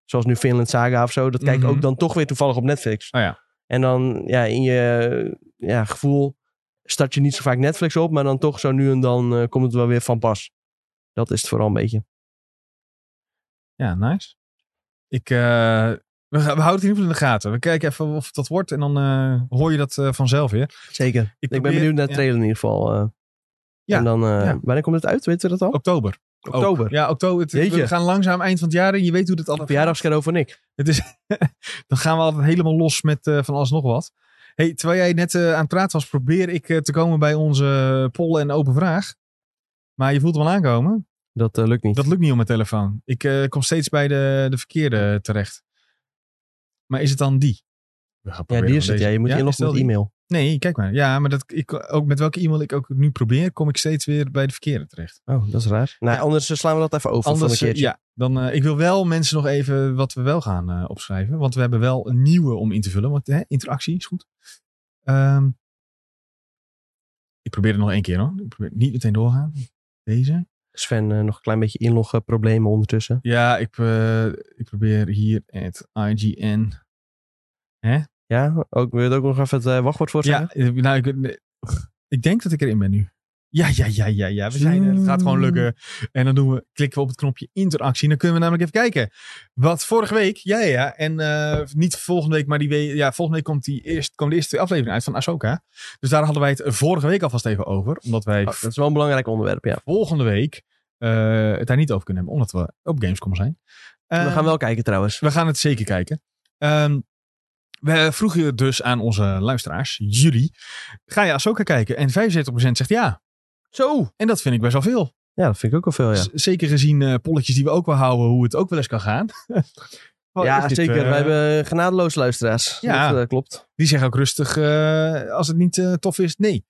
Speaker 2: Zoals nu Finland Saga of zo. Dat kijk ik
Speaker 1: Mhm.
Speaker 2: ook dan toch weer toevallig op Netflix.
Speaker 1: Oh ja.
Speaker 2: En dan ja, in je ja, gevoel start je niet zo vaak Netflix op. Maar dan toch zo nu en dan eh, komt het wel weer van pas. Dat is het vooral een beetje.
Speaker 1: Ja, nice. Ik, eh, we, gaan- we houden het in ieder geval in de gaten. We kijken even of het dat wordt en dan eh, hoor je dat eh, vanzelf weer.
Speaker 2: Zeker. Ik,
Speaker 1: probeer-
Speaker 2: ben benieuwd naar de
Speaker 1: ja.
Speaker 2: trailer in ieder geval. eh.
Speaker 1: Ja,
Speaker 2: En dan, eh,
Speaker 1: ja.
Speaker 2: wanneer komt het uit? Weten we dat al?
Speaker 1: Oktober. ook.
Speaker 2: Oktober.
Speaker 1: Ja, oktober. Het-
Speaker 2: Jeetje.
Speaker 1: we gaan langzaam eind van het jaar en je weet hoe dat allemaal gaat.
Speaker 2: Verjaardagscadeau van Nick.
Speaker 1: Het is, dan gaan we altijd helemaal los met eh, van alles nog wat. Hey, terwijl jij net eh, aan het praten was, eh, probeer ik eh, te komen bij onze poll en open vraag. Maar je voelt hem al aankomen.
Speaker 2: Dat eh, lukt niet.
Speaker 1: Dat lukt niet op mijn telefoon. Ik eh, kom steeds bij de, de verkeerde terecht. Maar is het dan die? We gaan
Speaker 2: ja,
Speaker 1: proberen
Speaker 2: die
Speaker 1: om
Speaker 2: is het.
Speaker 1: deze-
Speaker 2: Ja, je moet
Speaker 1: Ja, is
Speaker 2: inloggen
Speaker 1: dat
Speaker 2: met
Speaker 1: die?
Speaker 2: e-mail.
Speaker 1: Nee, kijk maar. Ja, maar dat, ik, ook met welke e-mail ik ook nu probeer, kom ik steeds weer bij de verkeerde terecht.
Speaker 2: Oh, dat is raar. Nou, anders eh, slaan we dat even over
Speaker 1: Anders,
Speaker 2: voor een
Speaker 1: eh,
Speaker 2: keertje.
Speaker 1: ja, dan, eh, ik wil wel mensen nog even wat we wel gaan eh, opschrijven. Want we hebben wel een nieuwe om in te vullen. Want hè, interactie is goed. Ehm, ik probeer het nog één keer hoor. Ik probeer het niet meteen doorgaan. Deze.
Speaker 2: Sven, eh, nog een klein beetje inloggen problemen ondertussen.
Speaker 1: Ja, ik, eh, ik probeer hier het IGN.
Speaker 2: Ja, ook, wil je het ook nog even het eh, wachtwoord voor
Speaker 1: Ja,
Speaker 2: zeggen?
Speaker 1: eh, nou, ik, nee. ik denk dat ik erin ben nu. Ja, ja, ja, ja, ja. We zijn er. Het gaat gewoon lukken. En dan doen we, klikken we op het knopje interactie. En dan kunnen we namelijk even kijken. Wat vorige week, ja, ja, ja. En eh, niet volgende week, maar die we- ja, volgende week komt die eerst, komen de eerste twee afleveringen uit van Ahsoka. Dus daar hadden wij het vorige week alvast even over. Omdat wij
Speaker 2: Oh, dat is wel een belangrijk onderwerp, ja.
Speaker 1: volgende week eh, het daar niet over kunnen hebben. Omdat we op Gamescom zijn.
Speaker 2: we
Speaker 1: Eh,
Speaker 2: gaan wel kijken trouwens.
Speaker 1: we gaan het zeker kijken. Ehm, we vroegen dus aan onze luisteraars, jullie, ga je Ahsoka kijken? En 75% zegt ja.
Speaker 2: Zo!
Speaker 1: En dat vind ik best wel veel.
Speaker 2: Ja, dat vind ik ook wel veel, Oh ja.
Speaker 1: Z- Zeker gezien eh, polletjes die we ook wel houden, hoe het ook wel eens kan gaan. Wat
Speaker 2: ja,
Speaker 1: is dit,
Speaker 2: zeker.
Speaker 1: eh,
Speaker 2: Wij hebben genadeloos luisteraars.
Speaker 1: Ja.
Speaker 2: Dat eh, klopt.
Speaker 1: Die zeggen ook rustig, eh, als het niet eh, tof is, nee.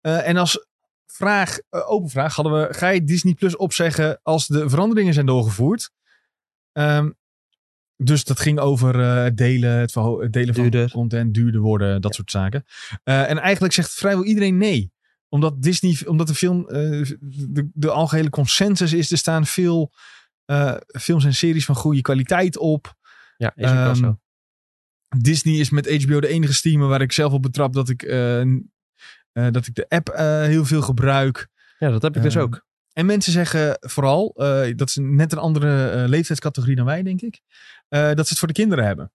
Speaker 1: Eh, en als vraag, eh, open vraag, hadden we, ga je Disney Plus opzeggen als de veranderingen zijn doorgevoerd? Ehm, dus dat ging over eh, het delen, het, verho- het delen van
Speaker 2: Duurder.
Speaker 1: content, duurder worden, dat soort zaken. Eh, en eigenlijk zegt vrijwel iedereen nee. Omdat Disney, omdat de film, eh, de, de algehele consensus is, er staan veel eh, films en series van goede kwaliteit op.
Speaker 2: Ja, is ook wel
Speaker 1: Ehm,
Speaker 2: zo.
Speaker 1: Disney is met HBO de enige streamer waar ik zelf op betrap dat ik, eh, n- eh, dat ik de app eh, heel veel gebruik.
Speaker 2: Ja, dat heb ik dus
Speaker 1: ehm,
Speaker 2: ook.
Speaker 1: En mensen zeggen vooral, eh, dat is net een andere eh, leeftijdscategorie dan wij, denk ik, eh, dat ze het voor de kinderen hebben.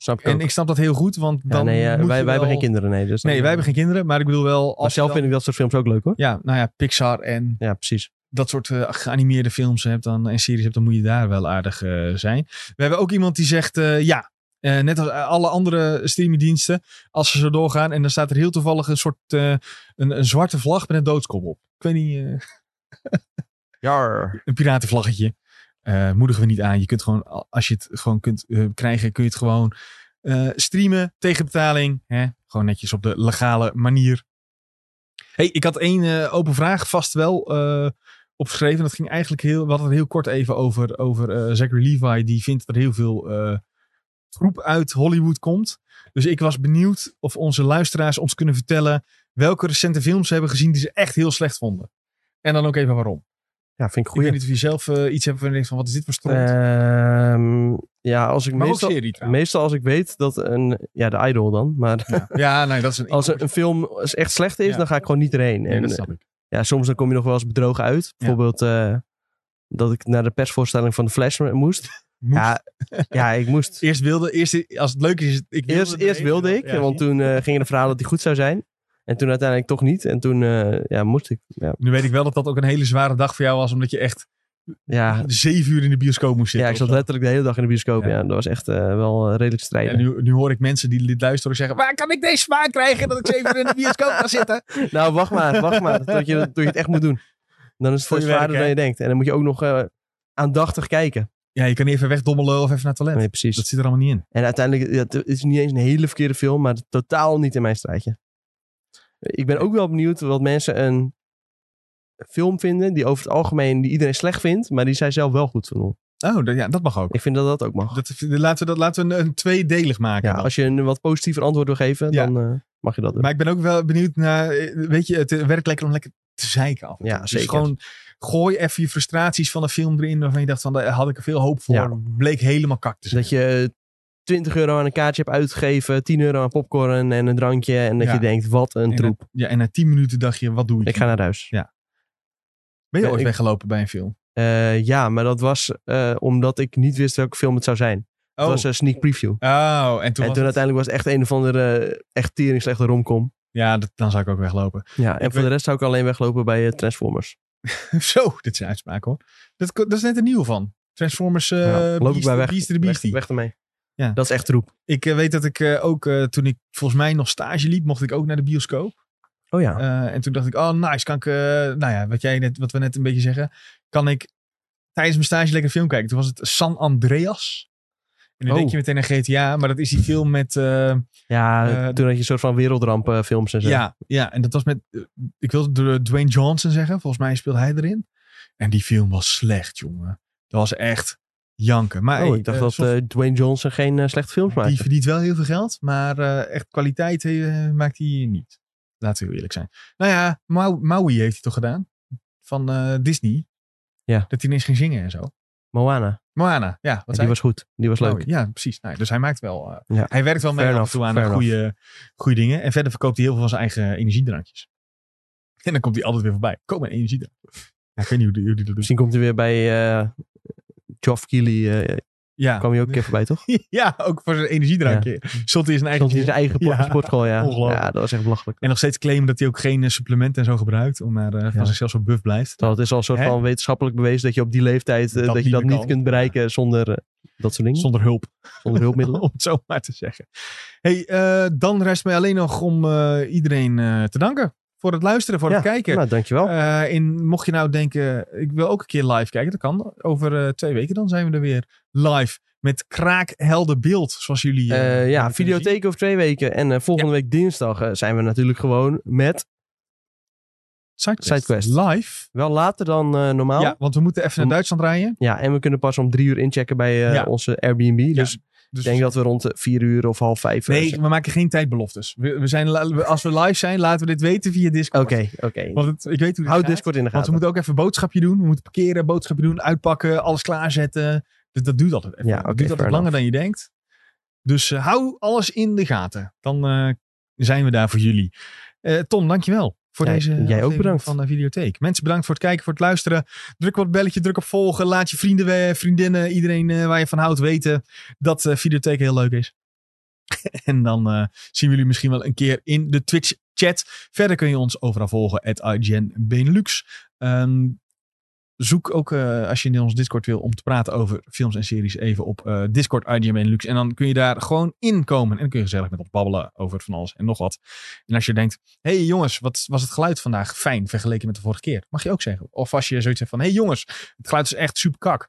Speaker 2: Snap ik
Speaker 1: En
Speaker 2: ook.
Speaker 1: ik snap dat heel goed, want
Speaker 2: Ja,
Speaker 1: dan.
Speaker 2: nee,
Speaker 1: moet
Speaker 2: eh, wij, wij
Speaker 1: je wel-
Speaker 2: hebben geen kinderen, nee. Dus dan-
Speaker 1: Nee, wij hebben geen kinderen, maar ik bedoel wel.
Speaker 2: Maar
Speaker 1: Als
Speaker 2: zelf
Speaker 1: je dan-
Speaker 2: vind ik dat soort films ook leuk, hoor.
Speaker 1: Ja, nou ja, Pixar en
Speaker 2: Ja, precies.
Speaker 1: dat soort eh, geanimeerde films hebt dan, en series hebt, dan moet je daar wel aardig eh, zijn. We hebben ook iemand die zegt, eh, ja, eh, net als alle andere streamingdiensten, als ze zo doorgaan en dan staat er heel toevallig een soort eh, een, een zwarte vlag met een doodskop op. Ik weet niet, eh,
Speaker 2: Jar.
Speaker 1: een piratenvlaggetje. Eh, moedigen we niet aan. Je kunt gewoon, a- als je het gewoon kunt eh, krijgen, kun je het gewoon eh, streamen tegen betaling. Hè? Gewoon netjes op de legale manier. hey, ik had één eh, open vraag vast wel eh, opgeschreven. Dat ging eigenlijk heel, we hadden het heel kort even over, over eh, Zachary Levi. Die vindt dat er heel veel eh troep uit Hollywood komt. Dus ik was benieuwd of onze luisteraars ons kunnen vertellen welke recente films ze hebben gezien die ze echt heel slecht vonden. En dan ook even waarom.
Speaker 2: Ja, vind ik
Speaker 1: Ik
Speaker 2: goeie.
Speaker 1: weet niet of je zelf eh, iets hebt van denkt van wat is dit voor stront.
Speaker 2: Ehm, ja, als ik
Speaker 1: maar ook
Speaker 2: meestal,
Speaker 1: serie trouwens.
Speaker 2: meestal als ik weet dat een... Ja, de idol dan. Maar
Speaker 1: Ja, nee, dat is een...
Speaker 2: als een, een film is echt slecht is,
Speaker 1: Ja.
Speaker 2: dan ga ik gewoon niet erheen.
Speaker 1: Nee,
Speaker 2: en,
Speaker 1: dat snap ik.
Speaker 2: ja, soms dan kom je nog wel eens bedrogen uit. Bijvoorbeeld eh, dat ik naar de persvoorstelling van de Flash moest.
Speaker 1: Moest.
Speaker 2: Ja, ja, ik moest.
Speaker 1: Eerst wilde, eerst, als het leuk is, ik wilde
Speaker 2: Eerst,
Speaker 1: het
Speaker 2: eerst
Speaker 1: even,
Speaker 2: wilde ik,
Speaker 1: ja,
Speaker 2: want
Speaker 1: zie je.
Speaker 2: toen eh, gingen de verhalen dat hij goed zou zijn. En toen uiteindelijk toch niet. En toen eh, ja, moest ik. Ja,
Speaker 1: Nu weet ik wel dat dat ook een hele zware dag voor jou was, omdat je echt
Speaker 2: ja,
Speaker 1: zeven uur in de bioscoop moest
Speaker 2: ja
Speaker 1: zitten.
Speaker 2: ik
Speaker 1: of
Speaker 2: zat
Speaker 1: zo.
Speaker 2: letterlijk de hele dag in de bioscoop.
Speaker 1: Ja.
Speaker 2: Ja, dat was echt eh, wel eh, redelijk
Speaker 1: En
Speaker 2: strijden.
Speaker 1: nu, nu hoor ik mensen die dit luisteren zeggen, waar kan ik deze smaak krijgen dat ik zeven uur in de bioscoop ga zitten?
Speaker 2: Nou, wacht maar, wacht maar. Tot je, tot je het echt moet doen. Dan is het
Speaker 1: Voor
Speaker 2: veel
Speaker 1: je
Speaker 2: zwaarder
Speaker 1: werk, hè?
Speaker 2: dan je denkt. En dan moet je ook nog eh, aandachtig kijken.
Speaker 1: Ja, je kan even wegdommelen of even naar het toilet.
Speaker 2: Nee, precies.
Speaker 1: Dat zit er allemaal niet in.
Speaker 2: En uiteindelijk, ja, het is niet eens een hele verkeerde film, maar totaal niet in mijn straatje. Ik ben ook wel benieuwd wat mensen een film vinden die over het algemeen die iedereen slecht vindt, maar die zij zelf wel goed vinden.
Speaker 1: Oh, dat, ja, dat mag ook.
Speaker 2: Ik vind dat dat ook mag.
Speaker 1: Dat, laten we, dat laten we een, een tweedelig maken.
Speaker 2: Ja,
Speaker 1: dan.
Speaker 2: als je een wat positiever antwoord wil geven,
Speaker 1: Ja.
Speaker 2: dan eh, mag je dat doen.
Speaker 1: Maar ik ben ook wel benieuwd naar. eh, Weet je, het eh, werkt lekker om lekker te zeiken af. en toe.
Speaker 2: Ja,
Speaker 1: dus
Speaker 2: zeker.
Speaker 1: gewoon gooi even je frustraties van een film erin. waarvan je dacht van daar had ik er veel hoop voor.
Speaker 2: Ja.
Speaker 1: Bleek helemaal kak te zijn.
Speaker 2: Dat je 20 euro aan een kaartje hebt uitgegeven, 10 euro aan popcorn en een drankje. En dat
Speaker 1: Ja.
Speaker 2: je denkt, wat een
Speaker 1: En
Speaker 2: troep.
Speaker 1: Ja, en na tien minuten dacht je: wat doe ik?
Speaker 2: Ik
Speaker 1: hier?
Speaker 2: ga naar huis.
Speaker 1: Ja. ben je
Speaker 2: Ja,
Speaker 1: ooit
Speaker 2: ik-
Speaker 1: weggelopen bij een film?
Speaker 2: Eh, ja, maar dat was eh, omdat ik niet wist welke film het zou zijn.
Speaker 1: Oh,
Speaker 2: Het was een sneak preview.
Speaker 1: oh en toen.
Speaker 2: en
Speaker 1: was
Speaker 2: toen
Speaker 1: het-
Speaker 2: uiteindelijk was het echt een of andere eh, echt tering slechte romcom.
Speaker 1: Ja, dat, dan zou ik ook weglopen.
Speaker 2: Ja, en voor
Speaker 1: weet-
Speaker 2: de rest zou ik alleen weglopen bij eh, Transformers.
Speaker 1: Zo, dit zijn uitspraken hoor. Dat, dat is net een nieuw van. Transformers eh
Speaker 2: Ja, loop ik
Speaker 1: Beast,
Speaker 2: bij weg.
Speaker 1: Beast the
Speaker 2: Weg,
Speaker 1: Beastie.
Speaker 2: weg ermee.
Speaker 1: Ja.
Speaker 2: Dat is echt troep.
Speaker 1: Ik eh, weet dat ik eh, ook eh, toen ik volgens mij nog stage liep, mocht ik ook naar de bioscoop.
Speaker 2: Oh ja.
Speaker 1: Eh, en toen dacht ik, oh nice, kan ik, eh, nou ja, wat, jij net, wat we net een beetje zeggen, kan ik tijdens mijn stage lekker een film kijken. Toen was het San Andreas. En dan
Speaker 2: Oh.
Speaker 1: denk je meteen aan GTA, maar dat is die film met, eh,
Speaker 2: ja,
Speaker 1: eh,
Speaker 2: toen had je een soort van wereldrampenfilms en zo.
Speaker 1: ja, ja, en dat was met, eh, ik wilde de- Dwayne Johnson zeggen, volgens mij speelde hij erin. En die film was slecht, jongen. Dat was echt janken. Maar
Speaker 2: Oh,
Speaker 1: hey,
Speaker 2: ik dacht
Speaker 1: eh,
Speaker 2: dat
Speaker 1: soms-
Speaker 2: eh, Dwayne Johnson geen eh, slechte films maakte.
Speaker 1: die verdient wel heel veel geld, maar eh, echt kwaliteit eh, maakt hij niet. Laten we heel eerlijk zijn. Nou ja, Mau- Maui heeft hij toch gedaan? Van eh, Disney.
Speaker 2: Ja.
Speaker 1: Dat hij ineens ging zingen en zo.
Speaker 2: Moana.
Speaker 1: Moana, ja.
Speaker 2: En
Speaker 1: Wat
Speaker 2: die
Speaker 1: zei
Speaker 2: was goed. Die was
Speaker 1: ik?
Speaker 2: leuk.
Speaker 1: Maui, Ja, precies. Nou, ja, dus hij maakt wel... eh,
Speaker 2: Ja.
Speaker 1: Hij werkt wel mee
Speaker 2: Fair
Speaker 1: af en
Speaker 2: enough,
Speaker 1: toe aan
Speaker 2: fair
Speaker 1: goede, goede dingen. En verder verkoopt hij heel veel van zijn eigen energiedrankjes. En dan komt hij altijd weer voorbij. Koop mijn energiedrank. Ja, ik weet niet hoe die, hoe die dat doet.
Speaker 2: Misschien komt hij weer bij eh Geoff Keighley. eh,
Speaker 1: Ja.
Speaker 2: kwam hij ook een keer voorbij, toch?
Speaker 1: ja, ook voor zijn energiedrankje. Zult hij zijn eigen...
Speaker 2: Stond hij in zijn eigen
Speaker 1: Ja.
Speaker 2: sportschool, ja.
Speaker 1: Ongelooflijk.
Speaker 2: Ja, dat was echt belachelijk.
Speaker 1: En nog steeds claimen dat hij ook geen eh, supplementen en zo gebruikt. Om maar eh, van
Speaker 2: Ja.
Speaker 1: zichzelf zo buff blijft.
Speaker 2: Terwijl het is al een soort
Speaker 1: Hè?
Speaker 2: van wetenschappelijk bewezen dat je op die leeftijd eh,
Speaker 1: Dat
Speaker 2: dat, je
Speaker 1: niet
Speaker 2: dat
Speaker 1: meer
Speaker 2: niet
Speaker 1: kan.
Speaker 2: kunt bereiken zonder eh, dat soort dingen.
Speaker 1: Zonder hulp,
Speaker 2: Zonder hulpmiddelen.
Speaker 1: om het zo maar te zeggen. Hey, eh, dan rest mij alleen nog om eh, iedereen eh, te danken voor het luisteren, voor het kijken.
Speaker 2: Nou, dankjewel.
Speaker 1: Eh, in, mocht je nou denken, ik wil ook een keer live kijken, dat kan. Over eh, twee weken dan zijn we er weer live met kraakhelder beeld, zoals jullie... eh,
Speaker 2: Eh, ja,
Speaker 1: kunnen zien.
Speaker 2: videotheek over twee weken. En eh, volgende week dinsdag eh, zijn we natuurlijk gewoon met...
Speaker 1: Sidequest.
Speaker 2: Sidequest.
Speaker 1: Live.
Speaker 2: Wel later dan eh, normaal.
Speaker 1: Ja,
Speaker 2: Ja.
Speaker 1: want we moeten even naar
Speaker 2: Om-
Speaker 1: Duitsland rijden.
Speaker 2: en we kunnen pas om drie uur inchecken bij eh,
Speaker 1: Ja.
Speaker 2: onze Airbnb. Dus ik
Speaker 1: Dus
Speaker 2: denk dat we rond de vier uur of half vijf... eh,
Speaker 1: Nee,
Speaker 2: zijn.
Speaker 1: we maken geen tijdbeloftes. We, we zijn, la- we- als we live zijn, laten we dit weten via Discord.
Speaker 2: Oké, oké.
Speaker 1: Want het- ik weet hoe dit
Speaker 2: Houd
Speaker 1: gaat.
Speaker 2: Discord in de
Speaker 1: Want we
Speaker 2: gaten.
Speaker 1: moeten ook even een boodschapje doen. We moeten parkeren, boodschapje doen, uitpakken, alles klaarzetten. Dus dat duurt altijd even.
Speaker 2: Ja,
Speaker 1: dat
Speaker 2: oké,
Speaker 1: duurt altijd
Speaker 2: fair
Speaker 1: langer dan je denkt. Dus eh, hou alles in de gaten. Dan eh, zijn we daar voor jullie. Eh Tom, dankjewel. Voor
Speaker 2: Jij-
Speaker 1: deze
Speaker 2: jij ook
Speaker 1: aflevering
Speaker 2: bedankt.
Speaker 1: van de Videotheek. Mensen bedankt voor het kijken, voor het luisteren. Druk op het belletje, druk op volgen. Laat je vrienden, we- vriendinnen, iedereen eh, waar je van houdt weten dat eh Videotheek heel leuk is. en dan eh, zien we jullie misschien wel een keer in de Twitch chat. Verder kun je ons overal volgen, at IGN Benelux. Ehm, zoek ook, eh, als je in ons Discord wil, om te praten over films en series, even op eh, Discord IGN Benelux. En dan kun je daar gewoon inkomen. En dan kun je gezellig met ons babbelen over van alles en nog wat. En als je denkt, hey jongens, wat was het geluid vandaag fijn vergeleken met de vorige keer? Mag je ook zeggen. Of als je zoiets hebt van, hey jongens, het geluid is echt super kak.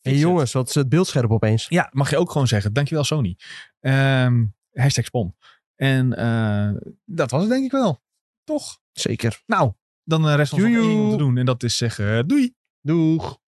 Speaker 2: Hé hey, jongens, wat is het beeldscherp opeens?
Speaker 1: Ja, mag je ook gewoon zeggen. Dankjewel Sony. Ehm hashtag Spon. En eh, dat was het denk ik wel. Toch?
Speaker 2: Zeker.
Speaker 1: Nou, dan eh, rest ons nog
Speaker 2: Joejoe.
Speaker 1: één ding om te doen. En dat is zeggen doei.
Speaker 2: Doeg.